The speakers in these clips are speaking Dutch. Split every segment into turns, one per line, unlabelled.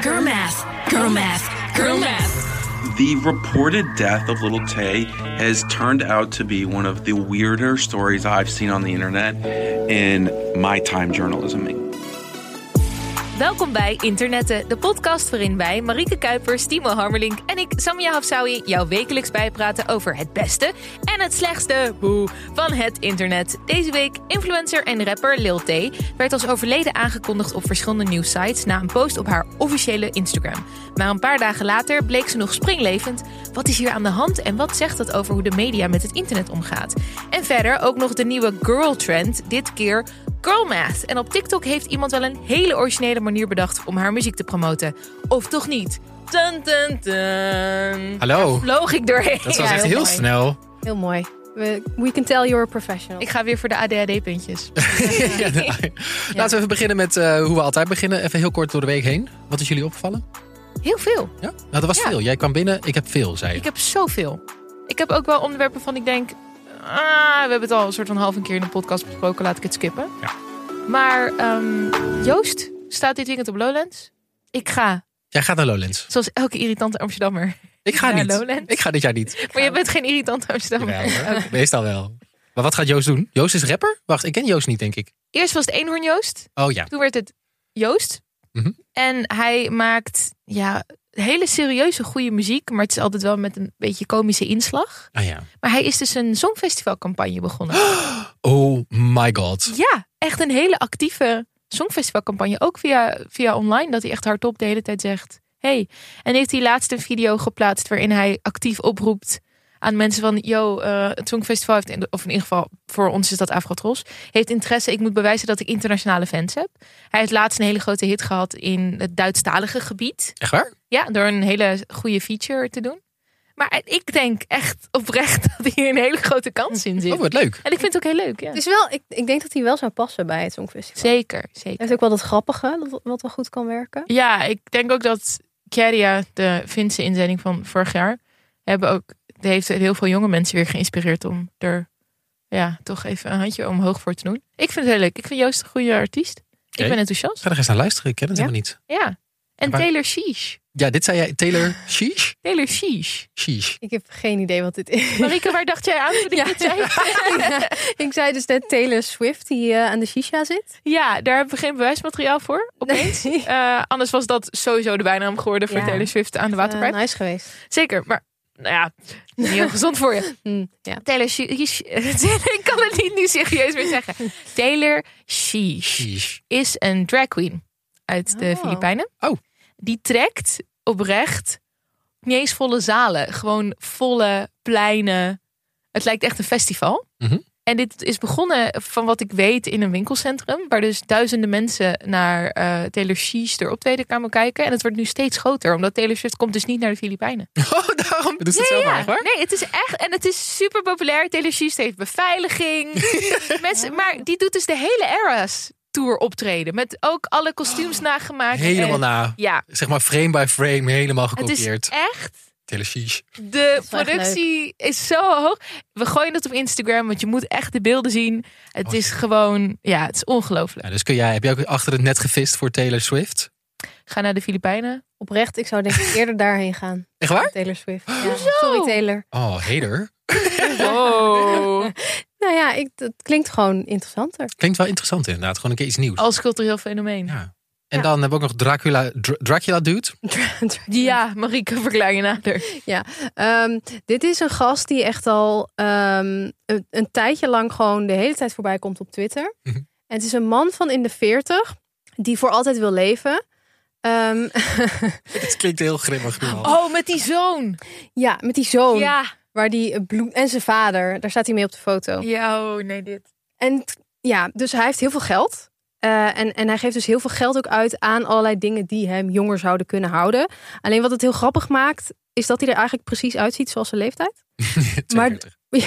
Girl math. Girl math. Girl math.
The reported death of Little Tay has turned out to be one of the weirder stories I've seen on the internet in my time journalisming.
Welkom bij Internetten, de podcast waarin wij, Marieke Kuipers, Timo Harmelink en ik, Samia Hafsawi, jou wekelijks bijpraten over het beste en het slechtste boe, van het internet. Deze week, influencer en rapper Lil T werd als overleden aangekondigd op verschillende nieuwsites na een post op haar officiële Instagram. Maar een paar dagen later bleek ze nog springlevend. Wat is hier aan de hand en wat zegt dat over hoe de media met het internet omgaat? En verder ook nog de nieuwe girl trend, dit keer Girl Math. En op TikTok heeft iemand wel een hele originele manier bedacht om haar muziek te promoten. Of toch niet? Dun, dun, dun.
Hallo.
Daar vloog ik doorheen.
Dat was echt heel
mooi.
snel.
Heel mooi. We, we can tell you're a professional.
Ik ga weer voor de ADHD-puntjes.
Ja, nou, Laten we even beginnen met eh, hoe we altijd beginnen. Even heel kort door de week heen. Wat is jullie opgevallen?
Heel veel.
Ja? Nou, dat was
Ja.
veel. Jij kwam binnen, ik heb veel, zei je.
Ik heb zoveel. Ik heb ook wel onderwerpen van ik denk... Ah, we hebben het al een soort van half een keer in de podcast besproken. Laat ik het skippen.
Ja.
Maar ehm, Joost staat dit weekend op Lowlands. Ik ga,
Jij gaat naar Lowlands.
zoals elke irritante Amsterdammer.
Ik ga
Naar
niet.
Lowlands?
Ik ga dit jaar niet.
Maar je bent geen irritante Amsterdammer.
Jawel, hoor. Meestal wel. Maar wat gaat Joost doen? Joost is rapper? Wacht, ik ken Joost niet, denk ik.
Eerst was het eenhoorn Joost.
Oh ja.
Toen werd het Joost.
Mhm.
En hij maakt ja, hele serieuze, goede muziek. Maar het is altijd wel met een beetje komische inslag.
Ah ja.
Maar hij is dus een songfestivalcampagne begonnen.
Oh my god.
Ja, echt een hele actieve songfestivalcampagne. Ook via, via online, dat hij echt hardop de hele tijd zegt... Hey. En heeft hij laatst een video geplaatst waarin hij actief oproept aan mensen van... Yo, eh, het Songfestival heeft, in- of in ieder geval voor ons is dat Afrotros... heeft interesse, ik moet bewijzen dat ik internationale fans heb. Hij heeft laatst een hele grote hit gehad in het Duitsstalige gebied.
Echt waar?
Ja, door een hele goede feature te doen. Maar ik denk echt oprecht dat hier een hele grote kans in
Oh,
zit.
wat leuk.
En ik vind het ook heel leuk, ja.
Het is wel, ik, ik denk dat hij wel zou passen bij het Songfestival.
Zeker,
Hij
zeker.
heeft ook wel dat grappige, dat- wat wel goed kan werken.
Ja, ik denk ook dat Keria, de Finse inzending van vorig jaar, hebben ook, die heeft heel veel jonge mensen weer geïnspireerd om er ja, toch even een handje omhoog voor te doen. Ik vind het heel leuk. Ik vind Joost een goede artiest.
Oké.
Ik ben enthousiast.
Ga er eens naar luisteren. Ik ken het
Ja?
helemaal niet.
Ja. En
Maar-
Taylor Sheesh.
Ja, dit zei jij. Taylor Sheesh?
Taylor Sheesh.
Sheesh.
Ik heb geen idee wat dit is.
Marike, waar dacht jij aan toen ik
Ja.
dit zei?
ik zei dus net Taylor Swift die eh, aan de shisha zit.
Ja, daar hebben we geen bewijsmateriaal voor, opeens.
Nee.
Eh, anders was dat sowieso de bijnaam geworden voor
Ja.
Taylor Swift aan de waterpijp.
Eh, nice geweest.
Zeker, maar nou ja, niet heel gezond voor je.
Hm, ja.
Taylor Sheesh. ik kan het niet nu serieus meer zeggen. Taylor Sheesh
Sheesh.
is een drag queen uit de
Oh.
Filipijnen.
Oh.
Die trekt oprecht niet eens volle zalen. Gewoon volle pleinen. Het lijkt echt een festival.
Mhm.
En dit is begonnen van wat ik weet in een winkelcentrum. Waar dus duizenden mensen naar eh Taylor Sheesh er optreden kwamen kijken. En het wordt nu steeds groter. Omdat Taylor Swift komt dus niet naar de Filipijnen.
Oh, daarom doet ze het zelf maar, echt waar?
Nee, het is echt. En het is super populair. Taylor Swift heeft beveiliging. Mensen, maar die doet dus de hele Eras Tour optreden. Met ook alle kostuums nagemaakt.
Helemaal
En-
na.
Ja,
Zeg maar frame by frame helemaal
het is
gekopieerd.
echt.
Taylor Sheesh.
De
is wel echt
productie is zo hoog. We gooien dat op Instagram, want je moet echt de beelden zien. Het
Oh,
is gewoon, ja, het is ongelooflijk.
Ja, dus kun jij, heb jij ook achter het net gevist voor Taylor Swift?
Ga naar de Filipijnen.
Oprecht, ik zou denk ik eerder daarheen gaan.
Echt waar?
Taylor Swift. Ja. Sorry Taylor.
Oh, hater.
Wow.
Nou ja, ik, dat klinkt gewoon interessanter.
Klinkt wel interessant inderdaad. Gewoon een keer iets nieuws.
Als cultureel fenomeen.
Ja. En dan hebben we ook nog Dracula, Dr- Dracula Dude.
Ja, Marieke, verklaar je nader.
Ehm, dit is een gast die echt al ehm, een, een tijdje lang gewoon de hele tijd voorbij komt op Twitter.
Mhm.
En het is een man van in de 40 die voor altijd wil leven. Ehm,
Het klinkt heel grimmig nu al.
Oh, met die zoon.
ja, met die zoon
Ja.
waar die bloed en zijn vader, daar staat hij mee op de foto.
Ja, oh, nee, dit.
En t- ja, dus hij heeft heel veel geld. Eh, en, en hij geeft dus heel veel geld ook uit aan allerlei dingen die hem jonger zouden kunnen houden. Alleen wat het heel grappig maakt, is dat hij er eigenlijk precies uitziet zoals zijn leeftijd.
42.
Ja,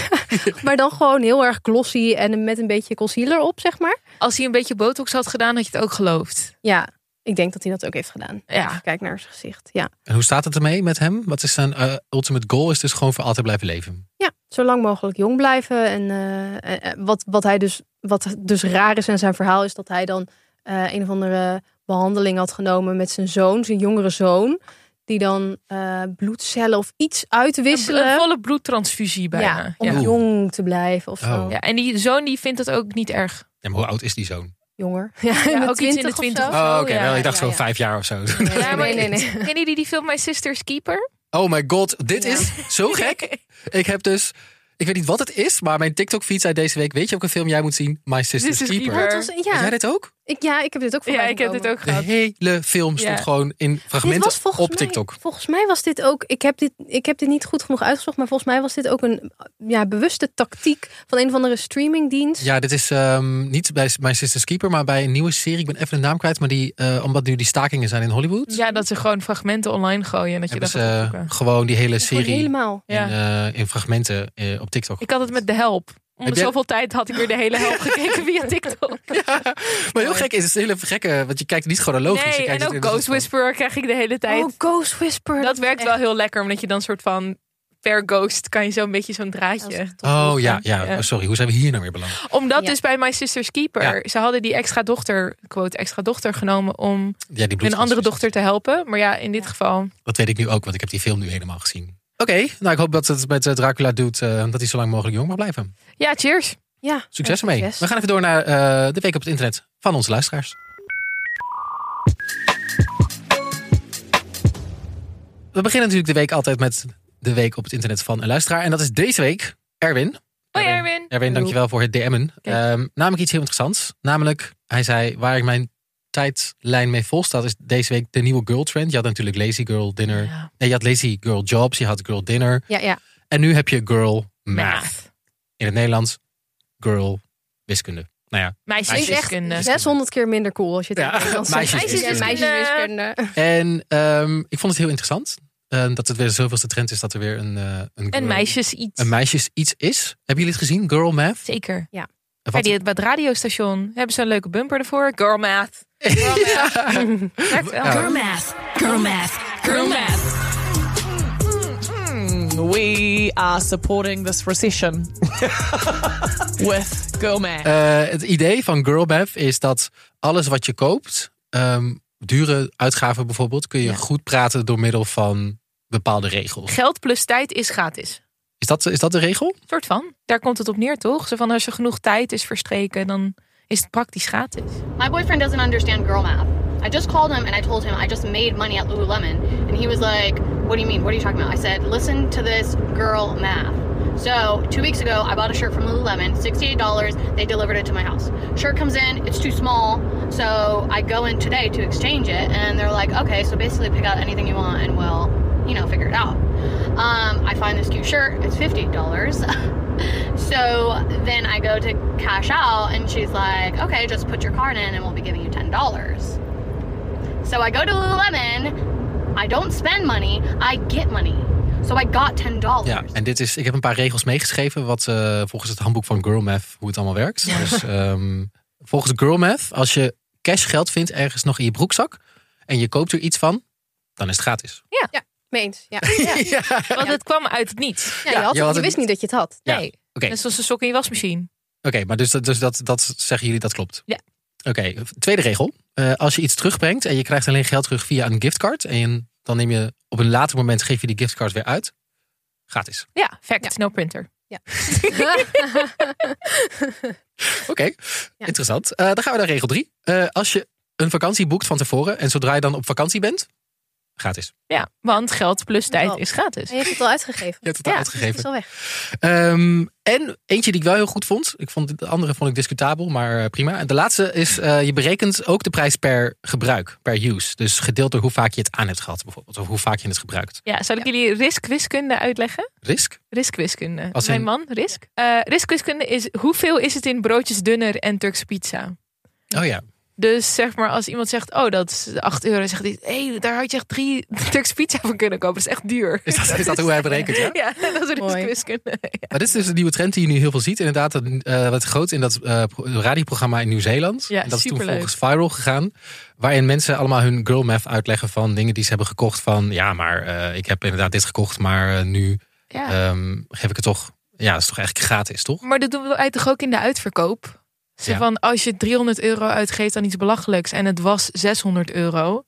maar dan gewoon heel erg glossy en met een beetje concealer op, zeg maar.
Als hij een beetje botox had gedaan, had je het ook geloofd.
Ja, ik denk dat hij dat ook heeft gedaan.
Ja.
Kijk naar zijn gezicht. Ja,
En hoe staat het ermee met hem? Wat is zijn eh, ultimate goal? Is dus gewoon voor altijd blijven leven.
ja zo lang mogelijk jong blijven. En eh, eh, eh, wat, wat, hij dus, wat dus raar is aan zijn verhaal, is dat hij dan eh, een of andere behandeling had genomen met zijn zoon, zijn jongere zoon. Die dan eh, bloedcellen of iets uitwisselen.
Een, een volle bloedtransfusie bijna.
ja, om
Ja, ja.
Oeh.
jong te blijven of zo.
Oh.
en die zoon die vindt dat ook niet erg.
En hoe oud is die zoon?
Jonger. Ja,
Ja,
met
ook iets in de
of
20
zo.
of
Oh, oké.
ja,
wel, ik dacht
ja,
zo'n
ja.
vijf jaar of zo.
Nee,
Ja, maar-
nee, nee, nee.
Kennen jullie die film My Sister's Keeper?
Oh my god, dit
Ja.
is zo gek. Ik heb dus, ik weet niet wat het is, maar mijn TikTok-feed zei deze week... weet je ook een film jij moet zien? My Sister's
Sister's
Keeper.
Keeper.
Oh, het was-
Weet jij
ja,
dit ook?
ik, ja, ik heb dit ook voorbij gekomen.
ook
De hele film stond
Ja.
gewoon in
Dit
fragmenten
was volgens
op
mij,
TikTok.
Volgens mij was dit ook. Ik heb dit, ik heb dit niet goed genoeg uitgezocht, maar volgens mij was dit ook een ja, bewuste tactiek van een of andere streamingdienst.
Ja, dit is ehm, niet bij My Sister's Keeper, maar bij een nieuwe serie. Ik ben even de naam kwijt, maar die, eh, omdat nu die stakingen zijn in Hollywood...
Ja, dat ze gewoon fragmenten online gooien en dat je
hebben
dat
ze
gaat
eh,
opzoeken.
gewoon die hele
Gewoon
serie in,
helemaal.
Ja.
eh, in fragmenten eh, op TikTok.
Ik had het met de help. Om
Heb jij-
zoveel tijd had ik weer de hele help gekeken via TikTok.
Maar heel gek is het, is een hele gekke, want je kijkt niet chronologisch. je
nee,
kijkt
en
het
ook
in een
Ghost
soort van-
Whisperer krijg ik de hele tijd.
Oh, Ghost Whisper.
dat
is
werkt
echt-
wel heel lekker, omdat je dan soort van per ghost kan je zo'n beetje zo'n
dat is
draadje.
echt tof.
Oh ja, ja,
Ja.
oh, sorry, hoe zijn we hier nou weer beland?
Omdat
Ja.
dus bij My Sister's Keeper,
Ja.
ze hadden die extra dochter, quote, extra dochter genomen om
Ja, die
hun andere
bloedtransfusie.
dochter te helpen. Maar ja, in dit geval.
Dat weet ik nu ook, want ik heb die film nu helemaal gezien. Oké, nou ik hoop dat het met eh, Dracula doet, eh, dat hij zo lang mogelijk jong mag blijven.
Ja, cheers.
Ja,
Succes
ja,
ermee. We gaan even door naar eh, de week op het internet van onze luisteraars. We beginnen natuurlijk de week altijd met de week op het internet van een luisteraar. En dat is deze week Erwin.
Hoi Erwin.
Erwin, dankjewel voor het DM'en.
Kijk.
Ehm, namelijk iets heel interessants. Namelijk, hij zei waar ik mijn tijdlijn mee vol staat, is deze week de nieuwe girl trend. Je had natuurlijk lazy girl dinner.
Ja.
Nee, je had lazy girl jobs, je had girl dinner.
Ja, ja.
En nu heb je girl math.
Math.
In het Nederlands, girl wiskunde. Nou ja,
Het is echt
Meisjeswiskunde.
600 keer minder cool als je het
Ja,
in het Nederlands zegt.
meisjeswiskunde.
Meisjeswiskunde.
En ehm, ik vond het heel interessant. eh, dat het weer de zoveelste trend is dat er weer een, eh, een, girl-
En meisjes iets.
een meisjes iets is. Hebben jullie het gezien? Girl Math?
Zeker.
Wat-
Bij, die, bij het radiostation hebben ze een leuke bumper ervoor. Girl math. Werkt wel.
Girl math. Girl math. Girl math.
Hmm, We are supporting this recession with Girl Man.
Eh, het idee van Girl Math is dat alles wat je koopt, ehm, dure uitgaven bijvoorbeeld, kun je goed praten door middel van bepaalde regels.
Geld plus tijd is gratis.
Is dat, is dat de regel?
Soort van. Daar komt het op neer, toch? Zo van als er genoeg tijd is verstreken, dan is het praktisch gratis.
My boyfriend doesn't understand girl math. I just called him and I told him I just made money at Lululemon. And he was like, What do you mean? What are you talking about? I said, Listen to this girl math. So, two weeks ago, I bought a shirt from Lululemon, $68. They delivered it to my house. Shirt comes in, it's too small. So, I go in today to exchange it. And they're like, Okay, so basically pick out anything you want and we'll, you know, figure it out. Um, I find this cute shirt, it's $50. So then I go to cash out, and she's like, okay, just put your card in and we'll be giving you $10. So I go to Lululemon, I don't spend money, I get money. So I got $10.
Ja, en dit is, ik heb een paar regels meegeschreven, wat eh, volgens het handboek van Girl Math, hoe het allemaal werkt. Dus, ehm, volgens Girl Math, als je cash geld vindt ergens nog in je broekzak en je koopt er iets van, dan is het gratis.
Mee eens. Ja. Ja. Ja,
Want het kwam uit het niets.
je, had
je
het,
had
je
het
wist niet dat je het had.
Ja.
Nee. Dus-
Oké.
Net zoals een sok in je wasmachine.
Oké, maar dus, dat- dus dat, dat zeggen jullie dat klopt?
Ja.
Oké, tweede regel. Eh, als je iets terugbrengt en je krijgt alleen geld terug via een giftcard. En dan neem je op een later moment geef je die giftcard weer uit. Gratis.
Ja, fact, no printer.
Oké, interessant. Eh, dan gaan we naar regel drie. Eh, als je een vakantie boekt van tevoren en zodra je dan op vakantie bent, gratis.
Ja, want geld plus tijd
Wel.
is gratis.
En je hebt het al uitgegeven.
Je hebt het al
Ja,
Het is
uitgegeven.
al weg.
Ehm, en eentje die ik wel heel goed vond. Ik vond de andere vond ik discutabel, maar eh, prima. En de laatste is eh, je berekent ook de prijs per gebruik, per use. Dus gedeeld door hoe vaak je het aan hebt gehad, bijvoorbeeld, of hoe vaak je het gebruikt.
Ja, zal ik jullie riskwiskunde uitleggen?
Risk.
Riskwiskunde.
Als
Mijn
in-
man, Risk. Eh, riskwiskunde is hoeveel is het in broodjes dunner en Turkse pizza?
Oh ja.
Dus zeg maar als iemand zegt, oh dat is 8 euro, zegt hij, hé, daar had je echt drie Turkse pizza van kunnen kopen. Dat is echt duur.
Is dat, is dat hoe hij berekent? Ja?
Ja, dat is
Mooi.
riskwiskunde. Ja.
Maar dit is dus een nieuwe trend die je nu heel veel ziet. Inderdaad, dat, eh, wat groot in dat eh, pro- radioprogramma in Nieuw-Zeeland.
Ja,
en dat is toen
superleuk.
volgens viral gegaan. Waarin mensen allemaal hun girl math uitleggen van dingen die ze hebben gekocht. Van ja, maar eh, ik heb inderdaad dit gekocht, maar eh, nu
Ja.
ehm, geef ik het toch. Ja, dat is toch eigenlijk gratis, toch?
Maar dat doen wij toch ook in de uitverkoop? Zo
Ja.
van, als je 300 euro uitgeeft aan iets belachelijks en het was 600 euro,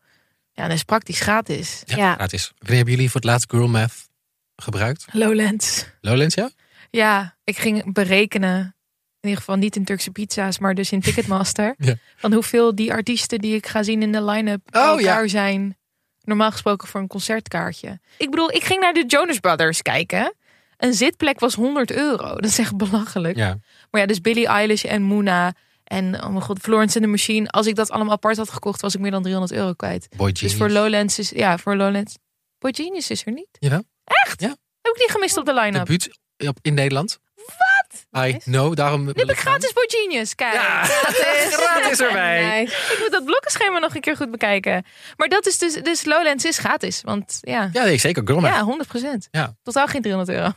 ja, dan is het praktisch gratis.
Ja,
Ja.
gratis. Wanneer hebben jullie voor het laatst Girl Math gebruikt?
Lowlands.
Lowlands, ja?
Ja, ik ging berekenen, in ieder geval niet in Turkse pizza's, maar dus in Ticketmaster,
Ja.
van hoeveel die artiesten die ik ga zien in de line-up bij
Oh, ja.
elkaar zijn. Normaal gesproken voor een concertkaartje. Ik bedoel, ik ging naar de Jonas Brothers kijken. Een zitplek was 100 euro. Dat is echt belachelijk.
Ja.
Maar ja, dus Billie Eilish en Moona en oh mijn god, Florence and the Machine. Als ik dat allemaal apart had gekocht, was ik meer dan 300 euro kwijt.
Boy
Dus
Genius.
voor Lowlands is ja, voor Lowlands. Boy Genius is er niet.
Jawel.
Echt?
Ja.
Heb ik niet gemist op de line-up.
Debuut op- in Nederland. Wat? I know, daarom
Nu
wil
heb ik
gaan.
gratis Boy Genius. Kijk,
Gratis erbij.
Nice.
ik moet dat blokkenschema nog een keer goed bekijken. Maar dat is dus, dus Lowlands is gratis. Want ja,
Ja, nee, zeker. Girl Math.
ja 100 procent.
Ja.
Totaal geen 300 euro.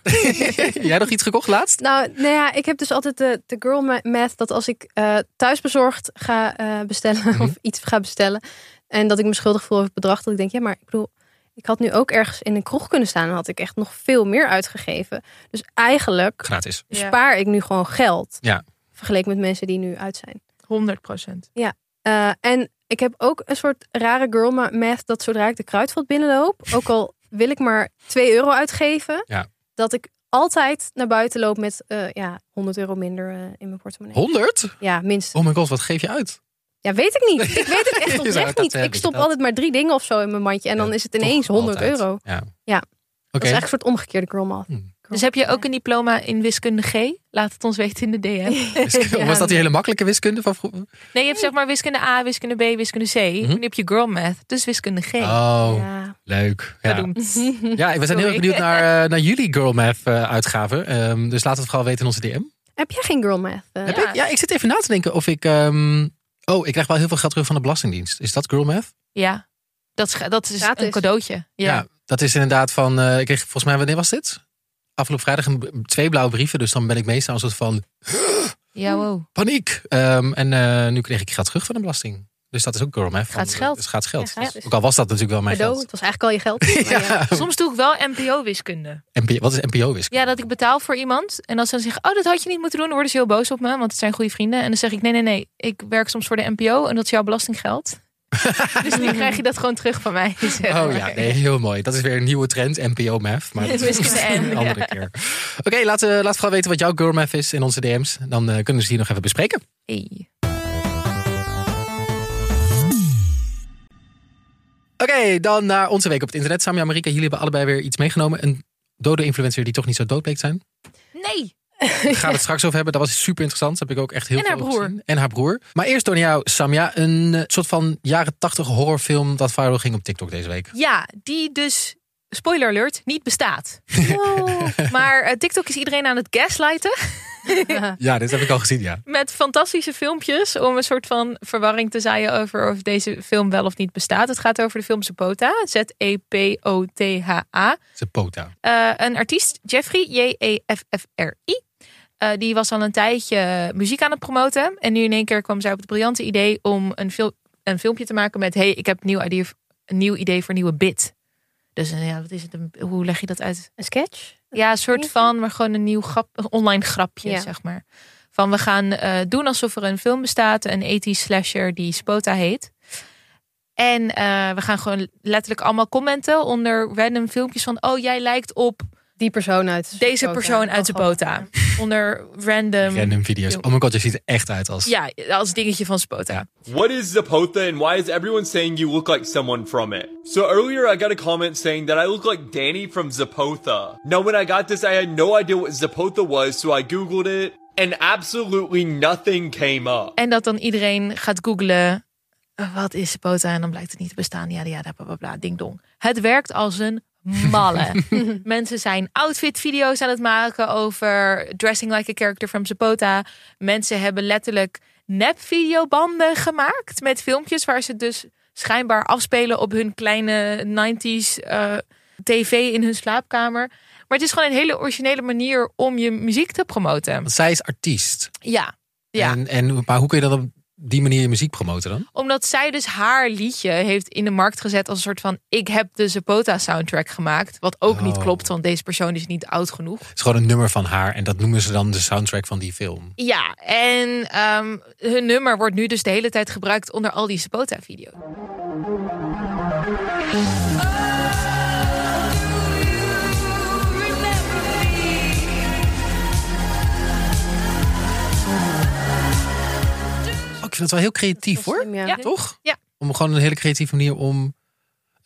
Jij nog iets gekocht laatst?
Nou, nou ja, ik heb dus altijd de, de girl ma- math dat als ik eh thuisbezorgd ga eh, bestellen
Mhm.
of iets ga bestellen en dat ik me schuldig voel over het bedrag, dat ik denk, ja, maar ik bedoel, ik had nu ook ergens in een kroeg kunnen staan en had ik echt nog veel meer uitgegeven. Dus eigenlijk
Gratis.
Ja.
spaar ik nu gewoon geld.
Ja.
Vergeleken met mensen die nu uit zijn.
100 procent.
Eh, en ik heb ook een soort rare girl ma- math dat zodra ik de kruidvat binnenloop, ook al wil ik maar 2 euro uitgeven,
Ja.
dat ik altijd naar buiten loop met eh, ja, 100 euro minder eh, in mijn portemonnee.
100?
Ja, minstens.
Oh mijn god, wat geef je uit?
Ja, weet ik niet. Ik weet het
Je
echt
zou het
oprecht niet.
hebben,
Ik stop
dat-
altijd maar drie dingen of zo in mijn mandje en dan
Ja,
is het ineens 100
Altijd.
euro.
Ja.
Ja.
Oké. Hmm.
Dat is echt een soort omgekeerde girl math.
Oh,
Dus heb je ook een diploma in wiskunde G? Laat het ons weten in de DM.
Wiskunde-
Ja.
Was dat die hele makkelijke wiskunde van vroeger?
Nee, je hebt zeg maar wiskunde A, wiskunde B, wiskunde C. En nu heb je girl math, dus wiskunde G.
Mhm. Oh,
Ja.
leuk. Ja. Mhm.
Verdoemd.
ja, we zijn heel
Sorry.
erg benieuwd naar, eh, naar jullie Girl Math eh, uitgaven. Ehm, dus laat het vooral weten in onze DM.
Heb jij geen girl math? eh?
Heb ik, ja, ik zit even na te denken of ik... ehm, oh, ik krijg wel heel veel geld terug van de Belastingdienst. Is dat Girl Math?
Ja, dat is, dat is
Gratis.
een cadeautje. Ja.
dat is inderdaad van... eh, ik kreeg volgens mij, wanneer was dit? Afgelopen vrijdag een, b- twee blauwe brieven. Dus dan ben ik meestal een soort van
Ja, wow.
paniek. Ehm, en eh, nu kreeg ik geld terug van de belasting. Dus dat is ook Girl Math. van-
Gratis geld.
Dus gaat geld.
Ja, gratis.
Dus ook al was dat natuurlijk wel mijn
Cadeau,
geld.
het was eigenlijk al je geld. Maar ja.
Soms doe ik wel NPO-wiskunde.
NPO wat is
Ja,
NPO-wiskunde?
dat ik betaal voor iemand. En als ze dan zeggen, oh, dat had je niet moeten doen, dan worden ze heel boos op me, want het zijn goede vrienden. En dan zeg ik, nee, nee, nee, ik werk soms voor de NPO en dat is jouw belastinggeld. dus nu krijg je dat gewoon terug van mij. Dus, eh, zeg maar.
Oh ja, nee, heel mooi. Dat is weer een nieuwe trend, NPO Math. Maar dat is
Wiskunde
een
N,
andere keer. Oké, laat, eh, laat vooral weten wat jouw Girl Math is in onze DM's. Dan eh, kunnen we ze hier nog even bespreken.
Hey.
Oké, dan naar onze week op het internet. Samia en Marika, jullie hebben allebei weer iets meegenomen. Een dode influencer die toch niet zo dood bleek te zijn.
Nee,
Daar gaan we het straks over hebben. Dat was super interessant. Dat heb ik ook echt heel
En
veel
haar
over
broer.
gezien. En haar broer. Maar eerst door naar jou, Samia. Een eh, soort van jaren tachtig horrorfilm dat viral ging op TikTok deze week.
ja, die dus, spoiler alert, niet bestaat. Maar eh, TikTok is iedereen aan het gaslighten.
Ja, dit heb ik al gezien, ja.
met fantastische filmpjes om een soort van verwarring te zaaien over of deze film wel of niet bestaat. Het gaat over de film E Zapota, Z-E-P-O-T-H-A.
Ze pota.
Eh, een artiest, Jeffrey, E J-E-F-F-R-I. Eh, die was al een tijdje muziek aan het promoten. En nu in één keer kwam zij op het briljante idee om een, fil- een filmpje te maken met... hey, ik heb een nieuw idee, een nieuw idee voor een nieuwe bit. Dus eh, ja, wat is het? Een- Hoe leg je dat uit?
Een sketch?
Ja, een soort van, maar gewoon een nieuw grap, een online grapje,
Ja.
zeg maar. Van we gaan eh, doen alsof er een film bestaat, een ethisch slasher die Spota heet. En eh, we gaan gewoon letterlijk allemaal commenten onder random filmpjes van... oh, jij lijkt op
Die persoon uit
deze
Zapota.
persoon uit
Wel grappig.
Zapota. Onder random,
Random video's.
jong.
Oh mijn god, je ziet er echt uit als...
ja, als dingetje van Spota.
Ja.
What is Zapota and why is everyone saying you look like someone from it? So earlier I got a comment saying that I look like Danny from Zapota. Now when I got this I had no idea what Zapota was so I googled it and absolutely nothing came up.
En dat dan iedereen gaat googlen. eh, Wat is Sapota? En dan blijkt het niet te bestaan. Ja, ja, bla, bla, bla, ding dong. Het werkt als een malle. Mensen zijn outfit-video's aan het maken over dressing like a character from Sapota. Mensen hebben letterlijk nep-videobanden gemaakt met filmpjes waar ze dus schijnbaar afspelen op hun kleine 90s eh, tv in hun slaapkamer. Maar het is gewoon een hele originele manier om je muziek te promoten.
Want zij is artiest.
Ja, ja.
En, en, maar hoe kun je dan op die manier je muziek promoten dan?
Omdat zij dus haar liedje heeft in de markt gezet als een soort van... ik heb de Zapota soundtrack gemaakt. Wat ook niet
Oh.
klopt, want deze persoon is niet oud genoeg.
Het is gewoon een nummer van haar en dat noemen ze dan de soundtrack van die film.
Ja, en ehm, hun nummer wordt nu dus de hele tijd gebruikt onder al die Sabota-video's.
Oh, ik vind het wel heel creatief hoor.
Ja.
Ja.
Toch?
Ja.
Om gewoon een hele creatieve manier om een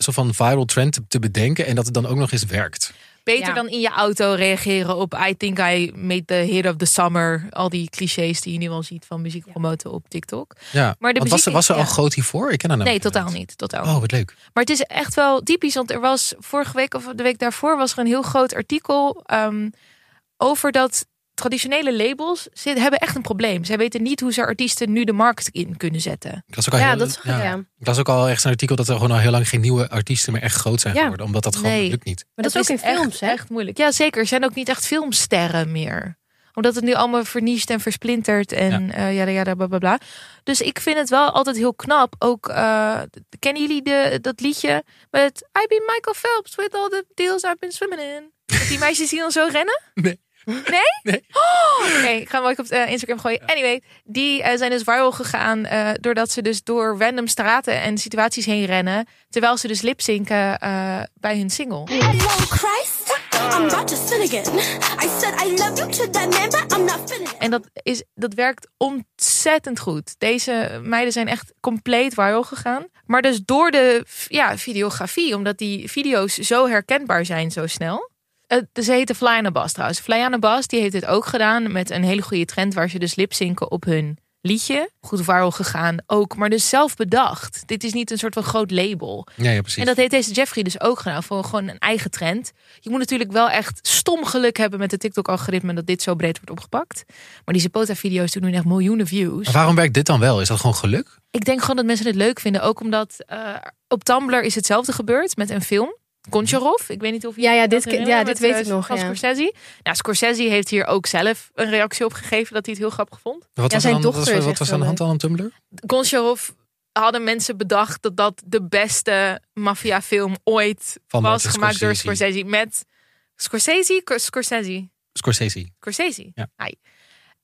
soort van viral trend te, te bedenken en dat het dan ook nog eens werkt.
Beter
Ja.
dan in je auto reageren op I think I made the hit of the summer. Al die clichés die je nu al ziet van muziek promoten op TikTok.
Ja.
Maar de
Want was,
muziek
er- was er
is-
al
ja.
groot hiervoor? Ik ken haar
Nee,
namelijk
totaal
niet.
niet. Totaal
Oh, wat leuk.
Maar het is echt wel typisch, want er was vorige week of de week daarvoor was er een heel groot artikel ehm, over dat traditionele labels zit, hebben echt een probleem. Zij weten niet hoe ze artiesten nu de markt in kunnen zetten.
Ik las ook al,
Ja,
heel-
dat zag ik, ja.
Ik las ook al echt een artikel dat er gewoon al heel lang geen nieuwe artiesten meer echt groot zijn
Ja.
geworden. Omdat dat gewoon
Nee.
lukt niet.
Maar dat, is ook in
echt,
films, hè?
echt moeilijk. Ja, zeker. Er zijn ook niet echt filmsterren meer. Omdat het nu allemaal verniest en versplinterd en ja, ja, ja, bla bla bla. Dus ik vind het wel altijd heel knap. Ook eh, kennen jullie de, dat liedje met I been Michael Phelps with all the deals I've been swimming in. Dat die meisjes die dan zo rennen?
Nee.
Nee? Oh, Oké, ik ga hem ook op eh, Instagram gooien. Anyway, die eh, zijn dus viral gegaan eh, doordat ze dus door random straten en situaties heen rennen. Terwijl ze dus lipzinken eh bij hun single.
Hello, Christ. I'm about to sin again. I said I love you to that man, but I'm not finished.
En dat, is, dat werkt ontzettend goed. Deze meiden zijn echt compleet viral gegaan. Maar dus door de f- ja, videografie, omdat die video's zo herkenbaar zijn zo snel. Eh, ze heette Flyana Bas trouwens. Flyana Bas die heeft dit ook gedaan met een hele goede trend... waar ze dus lipzinken op hun liedje. Goed viral gegaan ook, maar dus zelf bedacht. Dit is niet een soort van groot label.
Ja, ja precies.
En dat heeft deze Jeffrey dus ook gedaan voor gewoon een eigen trend. Je moet natuurlijk wel echt stom geluk hebben met de TikTok-algoritme dat dit zo breed wordt opgepakt. Maar die Zapota-video's doen nu echt miljoenen views.
Maar waarom werkt dit dan wel? Is dat gewoon geluk?
Ik denk gewoon dat mensen het leuk vinden, ook omdat eh, op Tumblr is hetzelfde gebeurd met een film. Goncharov, ik weet niet of je
Ja, ja,
dat
dit ken-
herinnert,
ja, dit
met,
weet
eh,
ik nog,
Van
ja.
Scorsese. Nou, Scorsese heeft hier ook zelf een reactie op gegeven dat hij het heel grappig vond.
Wat was
zijn
er dan, wat
dochter
was,
is
wat
echt
was er aan de
wel
hand dan op Tumblr?
Goncharov hadden mensen bedacht dat dat de beste maffiafilm ooit
Van
was
Martin
gemaakt door
Scorsese.
Scorsese. Met Scorsese? Cor- Scorsese?
Scorsese.
Scorsese.
Ja.
Hi.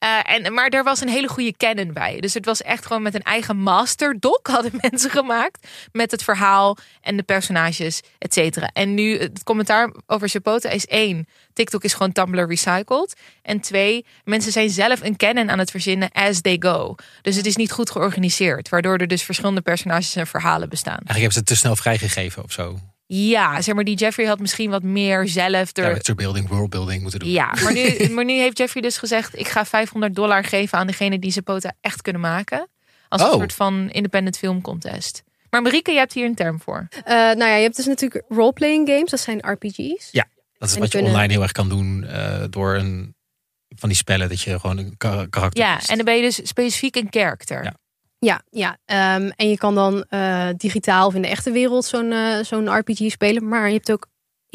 Eh, en, maar er was een hele goede canon bij. Dus het was echt gewoon met een eigen masterdoc hadden mensen gemaakt. Met het verhaal en de personages, et cetera. En nu het commentaar over Zapota is één. TikTok is gewoon Tumblr recycled. En twee, mensen zijn zelf een canon aan het verzinnen as they go. Dus het is niet goed georganiseerd. Waardoor er dus verschillende personages en verhalen bestaan.
Eigenlijk hebben ze het te snel vrijgegeven of zo.
Ja, zeg maar die Jeffrey had misschien wat meer zelf... Er,
Character building, world building moeten doen.
ja, maar nu, maar nu heeft Jeffrey dus gezegd: ik ga 500 dollar geven aan degene die Zapota echt kunnen maken. Als een
Oh.
soort van independent film contest. Maar Marieke, je hebt hier een term voor.
Eh, nou ja, je hebt dus natuurlijk roleplaying games. Dat zijn RPG's.
Ja, dat is
En
wat je
kunnen-
online heel erg kan doen eh, door een van die spellen dat je gewoon een kar- karakter.
Ja,
kiest.
en dan ben je dus specifiek een character.
Ja.
Ja, ja. Ehm, en je kan dan eh, digitaal of in de echte wereld zo'n eh, zo'n RPG spelen. Maar je hebt ook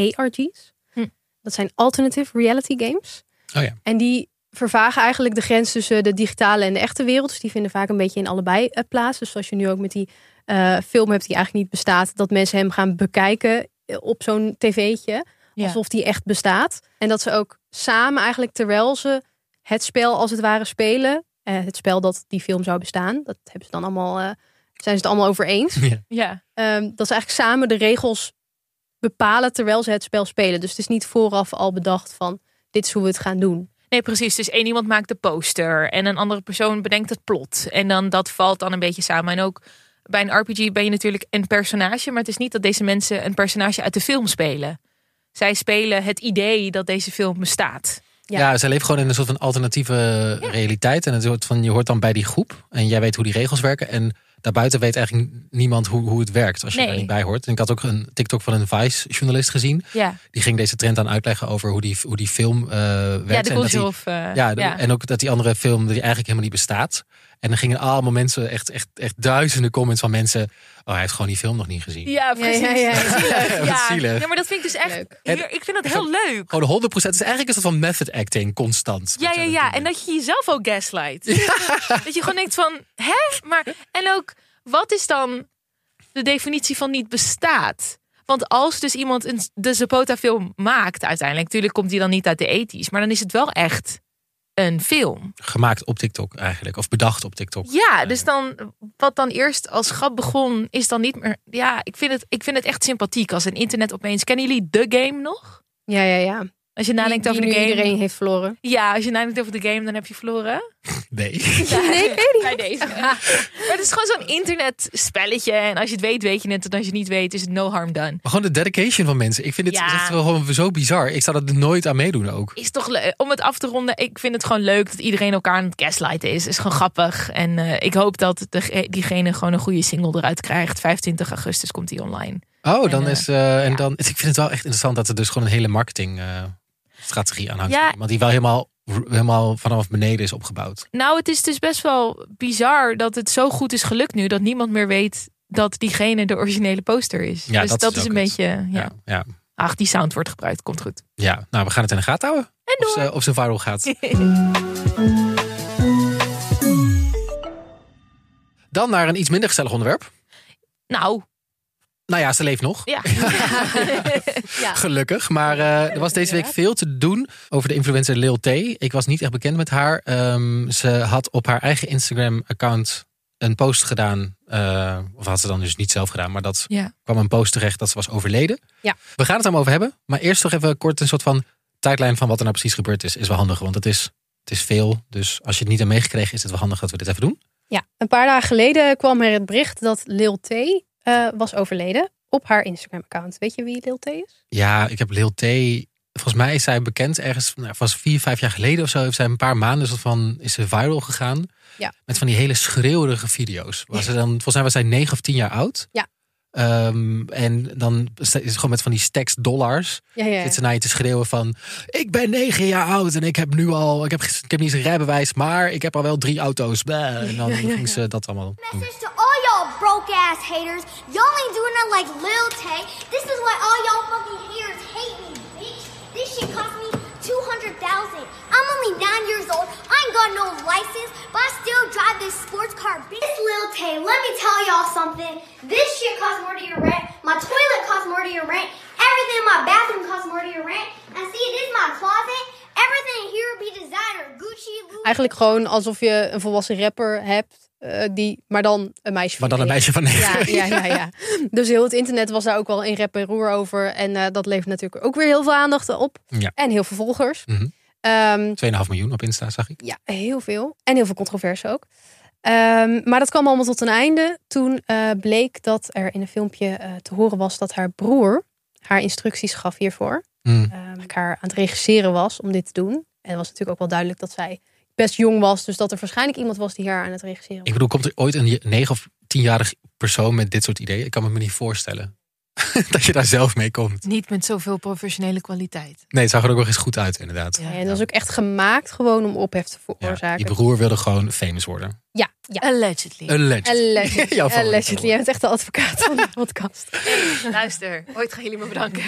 ARG's.
Hm.
Dat zijn alternative reality games.
Oh ja.
En die vervagen eigenlijk de grens tussen de digitale en de echte wereld. Dus die vinden vaak een beetje in allebei eh, plaats. Dus zoals je nu ook met die eh, film hebt die eigenlijk niet bestaat. Dat mensen hem gaan bekijken eh, op zo'n tv'tje.
Ja.
Alsof die echt bestaat. En dat ze ook samen eigenlijk terwijl ze het spel als het ware spelen. eh, het spel dat die film zou bestaan. Dat hebben ze dan allemaal, eh, zijn ze het allemaal over eens.
Ja.
Ehm, dat ze eigenlijk samen de regels bepalen terwijl ze het spel spelen. Dus het is niet vooraf al bedacht van dit is hoe we het gaan doen.
Nee, precies. Dus één iemand maakt de poster en een andere persoon bedenkt het plot. En dan dat valt dan een beetje samen. En ook bij een RPG ben je natuurlijk een personage, maar het is niet dat deze mensen een personage uit de film spelen. Zij spelen het idee dat deze film bestaat.
Ja.
Ja, ze leven gewoon in een soort van alternatieve realiteit. En het soort van, je hoort dan bij die groep. En jij weet hoe die regels werken. En daarbuiten weet eigenlijk niemand hoe, hoe het werkt. Als je
Nee.
daar niet bij hoort. En ik had ook een TikTok van een Vice-journalist gezien.
Ja.
Die ging deze trend aan uitleggen over hoe die, hoe die film eh
Ja,
werkt.
de
en dat die-
Conjure of... eh,
ja,
ja,
de- en ook dat die andere film die eigenlijk helemaal niet bestaat. En dan gingen allemaal mensen, echt, echt, echt duizenden comments van mensen. Oh, hij heeft gewoon die film nog niet gezien.
Ja, precies.
ja, ja.
Zielig,
Wat
ja.
zielig.
Ja, maar dat vind ik dus echt...
Leuk.
Hier, ik vind dat heel leuk.
Gewoon 100%. Het is eigenlijk een soort van method acting constant.
Ja,
Wat
ja,
zij
ja.
dat
En
doen.
dat je jezelf ook gaslight. Dat je gewoon denkt van, hè? Maar, en ook, wat is dan de definitie van niet bestaat? Want als dus iemand een, de Zapota-film maakt uiteindelijk... natuurlijk komt die dan niet uit de ethisch, maar dan is het wel echt een film.
Gemaakt op TikTok eigenlijk. Of bedacht op TikTok.
Ja, dus dan, wat dan eerst als grap begon, is dan niet meer... Ja, ik vind het, ik vind het echt sympathiek als een internet opeens... Kennen jullie The Game nog?
Ja, ja, ja.
Als je nadenkt
Die
over de
nu
game...
iedereen heeft verloren.
Ja, als je nadenkt over de game, dan heb je verloren.
Nee.
Nee, Bij deze. maar het is gewoon zo'n internetspelletje. En als je het weet, weet je het. En als je het niet weet, is het no harm done.
Maar gewoon de dedication van mensen. Ik vind het
Ja.
echt wel gewoon zo bizar. Ik zou dat nooit aan meedoen ook.
Is toch leuk. Om het af te ronden, ik vind het gewoon leuk dat iedereen elkaar aan het gaslighten is. Is gewoon grappig. En eh, ik hoop dat de, diegene gewoon een goede single eruit krijgt. 25 augustus komt die online.
Oh, dan
En, eh,
is. eh, en dan, ik vind het wel echt interessant dat er dus gewoon een hele marketing eh, strategie aan hangt.
Ja.
Maar die wel helemaal, helemaal vanaf beneden is opgebouwd.
Nou, het is dus best wel bizar dat het zo goed is gelukt nu. Dat niemand meer weet dat diegene de originele poster is.
Ja,
dus
dat
dat,
is
is een
ook het.
beetje... Ja.
Ja. Ja.
Ach, die sound wordt gebruikt. Komt goed.
ja. Nou, we gaan het in de gaten houden. En Of ze, of ze viral gaat. Dan naar een iets minder gezellig onderwerp.
Nou,
Nou ja, ze leeft nog.
ja.
Gelukkig. Maar eh, er was deze week veel te doen over de influencer Lil T. Ik was niet echt bekend met haar. Ehm, ze had op haar eigen Instagram-account een post gedaan. eh, of had ze dan dus niet zelf gedaan. Maar dat
Ja.
kwam een post terecht dat ze was overleden.
Ja.
We gaan het er maar over hebben. Maar eerst toch even kort een soort van tijdlijn van wat er nou precies gebeurd is. Is wel handig, want het is, het is veel. Dus als je het niet hebt meegekregen, is het wel handig dat we dit even doen.
Ja, een paar dagen geleden kwam er het bericht dat Lil T eh, was overleden op haar Instagram-account. Weet je wie Lil T is?
Ja, ik heb Lil T. Volgens mij is zij bekend ergens, nou, was vier, vijf jaar geleden of zo, heeft zij een paar maanden soort van, is ze viral gegaan.
Ja.
Met van die hele schreeuwerige video's. Was ze dan, volgens mij was zij negen of tien jaar oud.
Ja.
Ehm, en dan is het gewoon met van die stacks dollars.
Ja, ja.
Zit ze naar je te schreeuwen van, ik ben negen jaar oud en ik heb nu al, ik heb, ges- ik heb niet eens een rijbewijs, maar ik heb al wel drie auto's. Bah, en dan ging ze dat allemaal doen.
Message to all y'all broke ass haters. Y'all ain't doing nothing like Lil Tay. This is why all y'all fucking haters hate me, bitch. This shit cost me 200,000. I'm only nine years old. I ain't got no license, but I still drive this sports car, bitch. This Lil Tay, let me tell y'all something. This shit costs more to your rent. My toilet costs more to your rent. Everything in my bathroom costs more to your rent. And see, this is my closet. Everything here be designer. Gucci, Louis.
Eigenlijk gewoon alsof je een volwassen rapper hebt, eh, die, maar dan een meisje.
Maar
van
dan een
negen.
meisje van negen.
Ja, ja, ja, ja. Dus heel het internet was daar ook wel in rep en roer over. En eh, dat levert natuurlijk ook weer heel veel aandacht op.
Ja.
En heel veel volgers.
Mhm.
Ehm,
2,5 miljoen op Insta zag ik.
ja, heel veel. En heel veel controverse ook. Ehm, maar dat kwam allemaal tot een einde. Toen eh, bleek dat er in een filmpje eh, te horen was dat haar broer haar instructies gaf hiervoor.
Mm.
Ehm, dat ik haar aan het regisseren was om dit te doen. En het was natuurlijk ook wel duidelijk dat zij best jong was. Dus dat er waarschijnlijk iemand was die haar aan het regisseren was.
Ik bedoel, komt er ooit een 9 of 10-jarig persoon met dit soort ideeën? Ik kan het me niet voorstellen. dat je daar zelf mee komt.
Niet met zoveel professionele kwaliteit.
Nee, het zag er ook nog eens goed uit, inderdaad.
en dat was ook echt gemaakt gewoon om ophef te
nou. Ja,
veroorzaken.
die broer wilde gewoon famous worden.
Ja, ja.
Allegedly.
Een legend.
Allegedly.
Jouw favoriete
Allegedly.
woord.
Jij bent echt de advocaat van de podcast.
Luister, ooit gaan jullie me bedanken.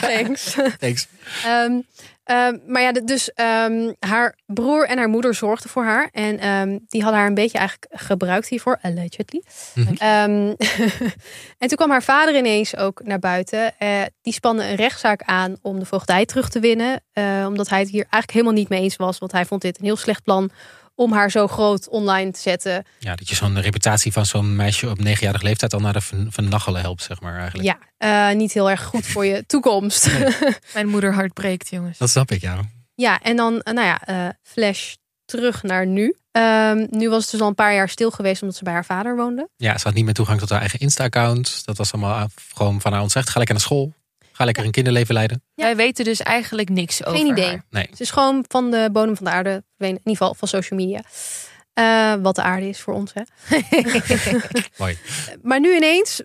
Thanks.
Thanks.
Ehm, ehm, maar ja, de- dus ehm, haar broer en haar moeder zorgden voor haar. En ehm, die hadden haar een beetje eigenlijk gebruikt hiervoor, allegedly. Ehm, en toen kwam haar vader ineens ook naar buiten. Eh, die spande een rechtszaak aan om de voogdij terug te winnen. eh, omdat hij het hier eigenlijk helemaal niet mee eens was. Want hij vond dit een heel slecht plan om haar zo groot online te zetten.
Ja, dat je zo'n reputatie van zo'n meisje op 9-jarige leeftijd al naar de vern- vernachelen helpt, zeg maar eigenlijk.
Ja, eh, niet heel erg goed voor je toekomst.
Mijn moeder hart breekt, jongens.
Dat snap ik, ja.
Ja, en dan, eh, nou ja, eh, flash terug naar nu. Ehm, nu was het dus al een paar jaar stil geweest omdat ze bij haar vader woonde.
Ja, ze had niet meer toegang tot haar eigen Insta-account. Dat was allemaal af- gewoon van haar ontzegd. Ga lekker naar school. Ga lekker een kinderleven leiden.
Wij weten dus eigenlijk niks over
Geen idee.
haar.
Nee.
Ze is gewoon van de bodem van de aarde verdwenen. In ieder geval van social media. Eh, wat de aarde is voor ons. Hè.
Mooi.
Maar nu ineens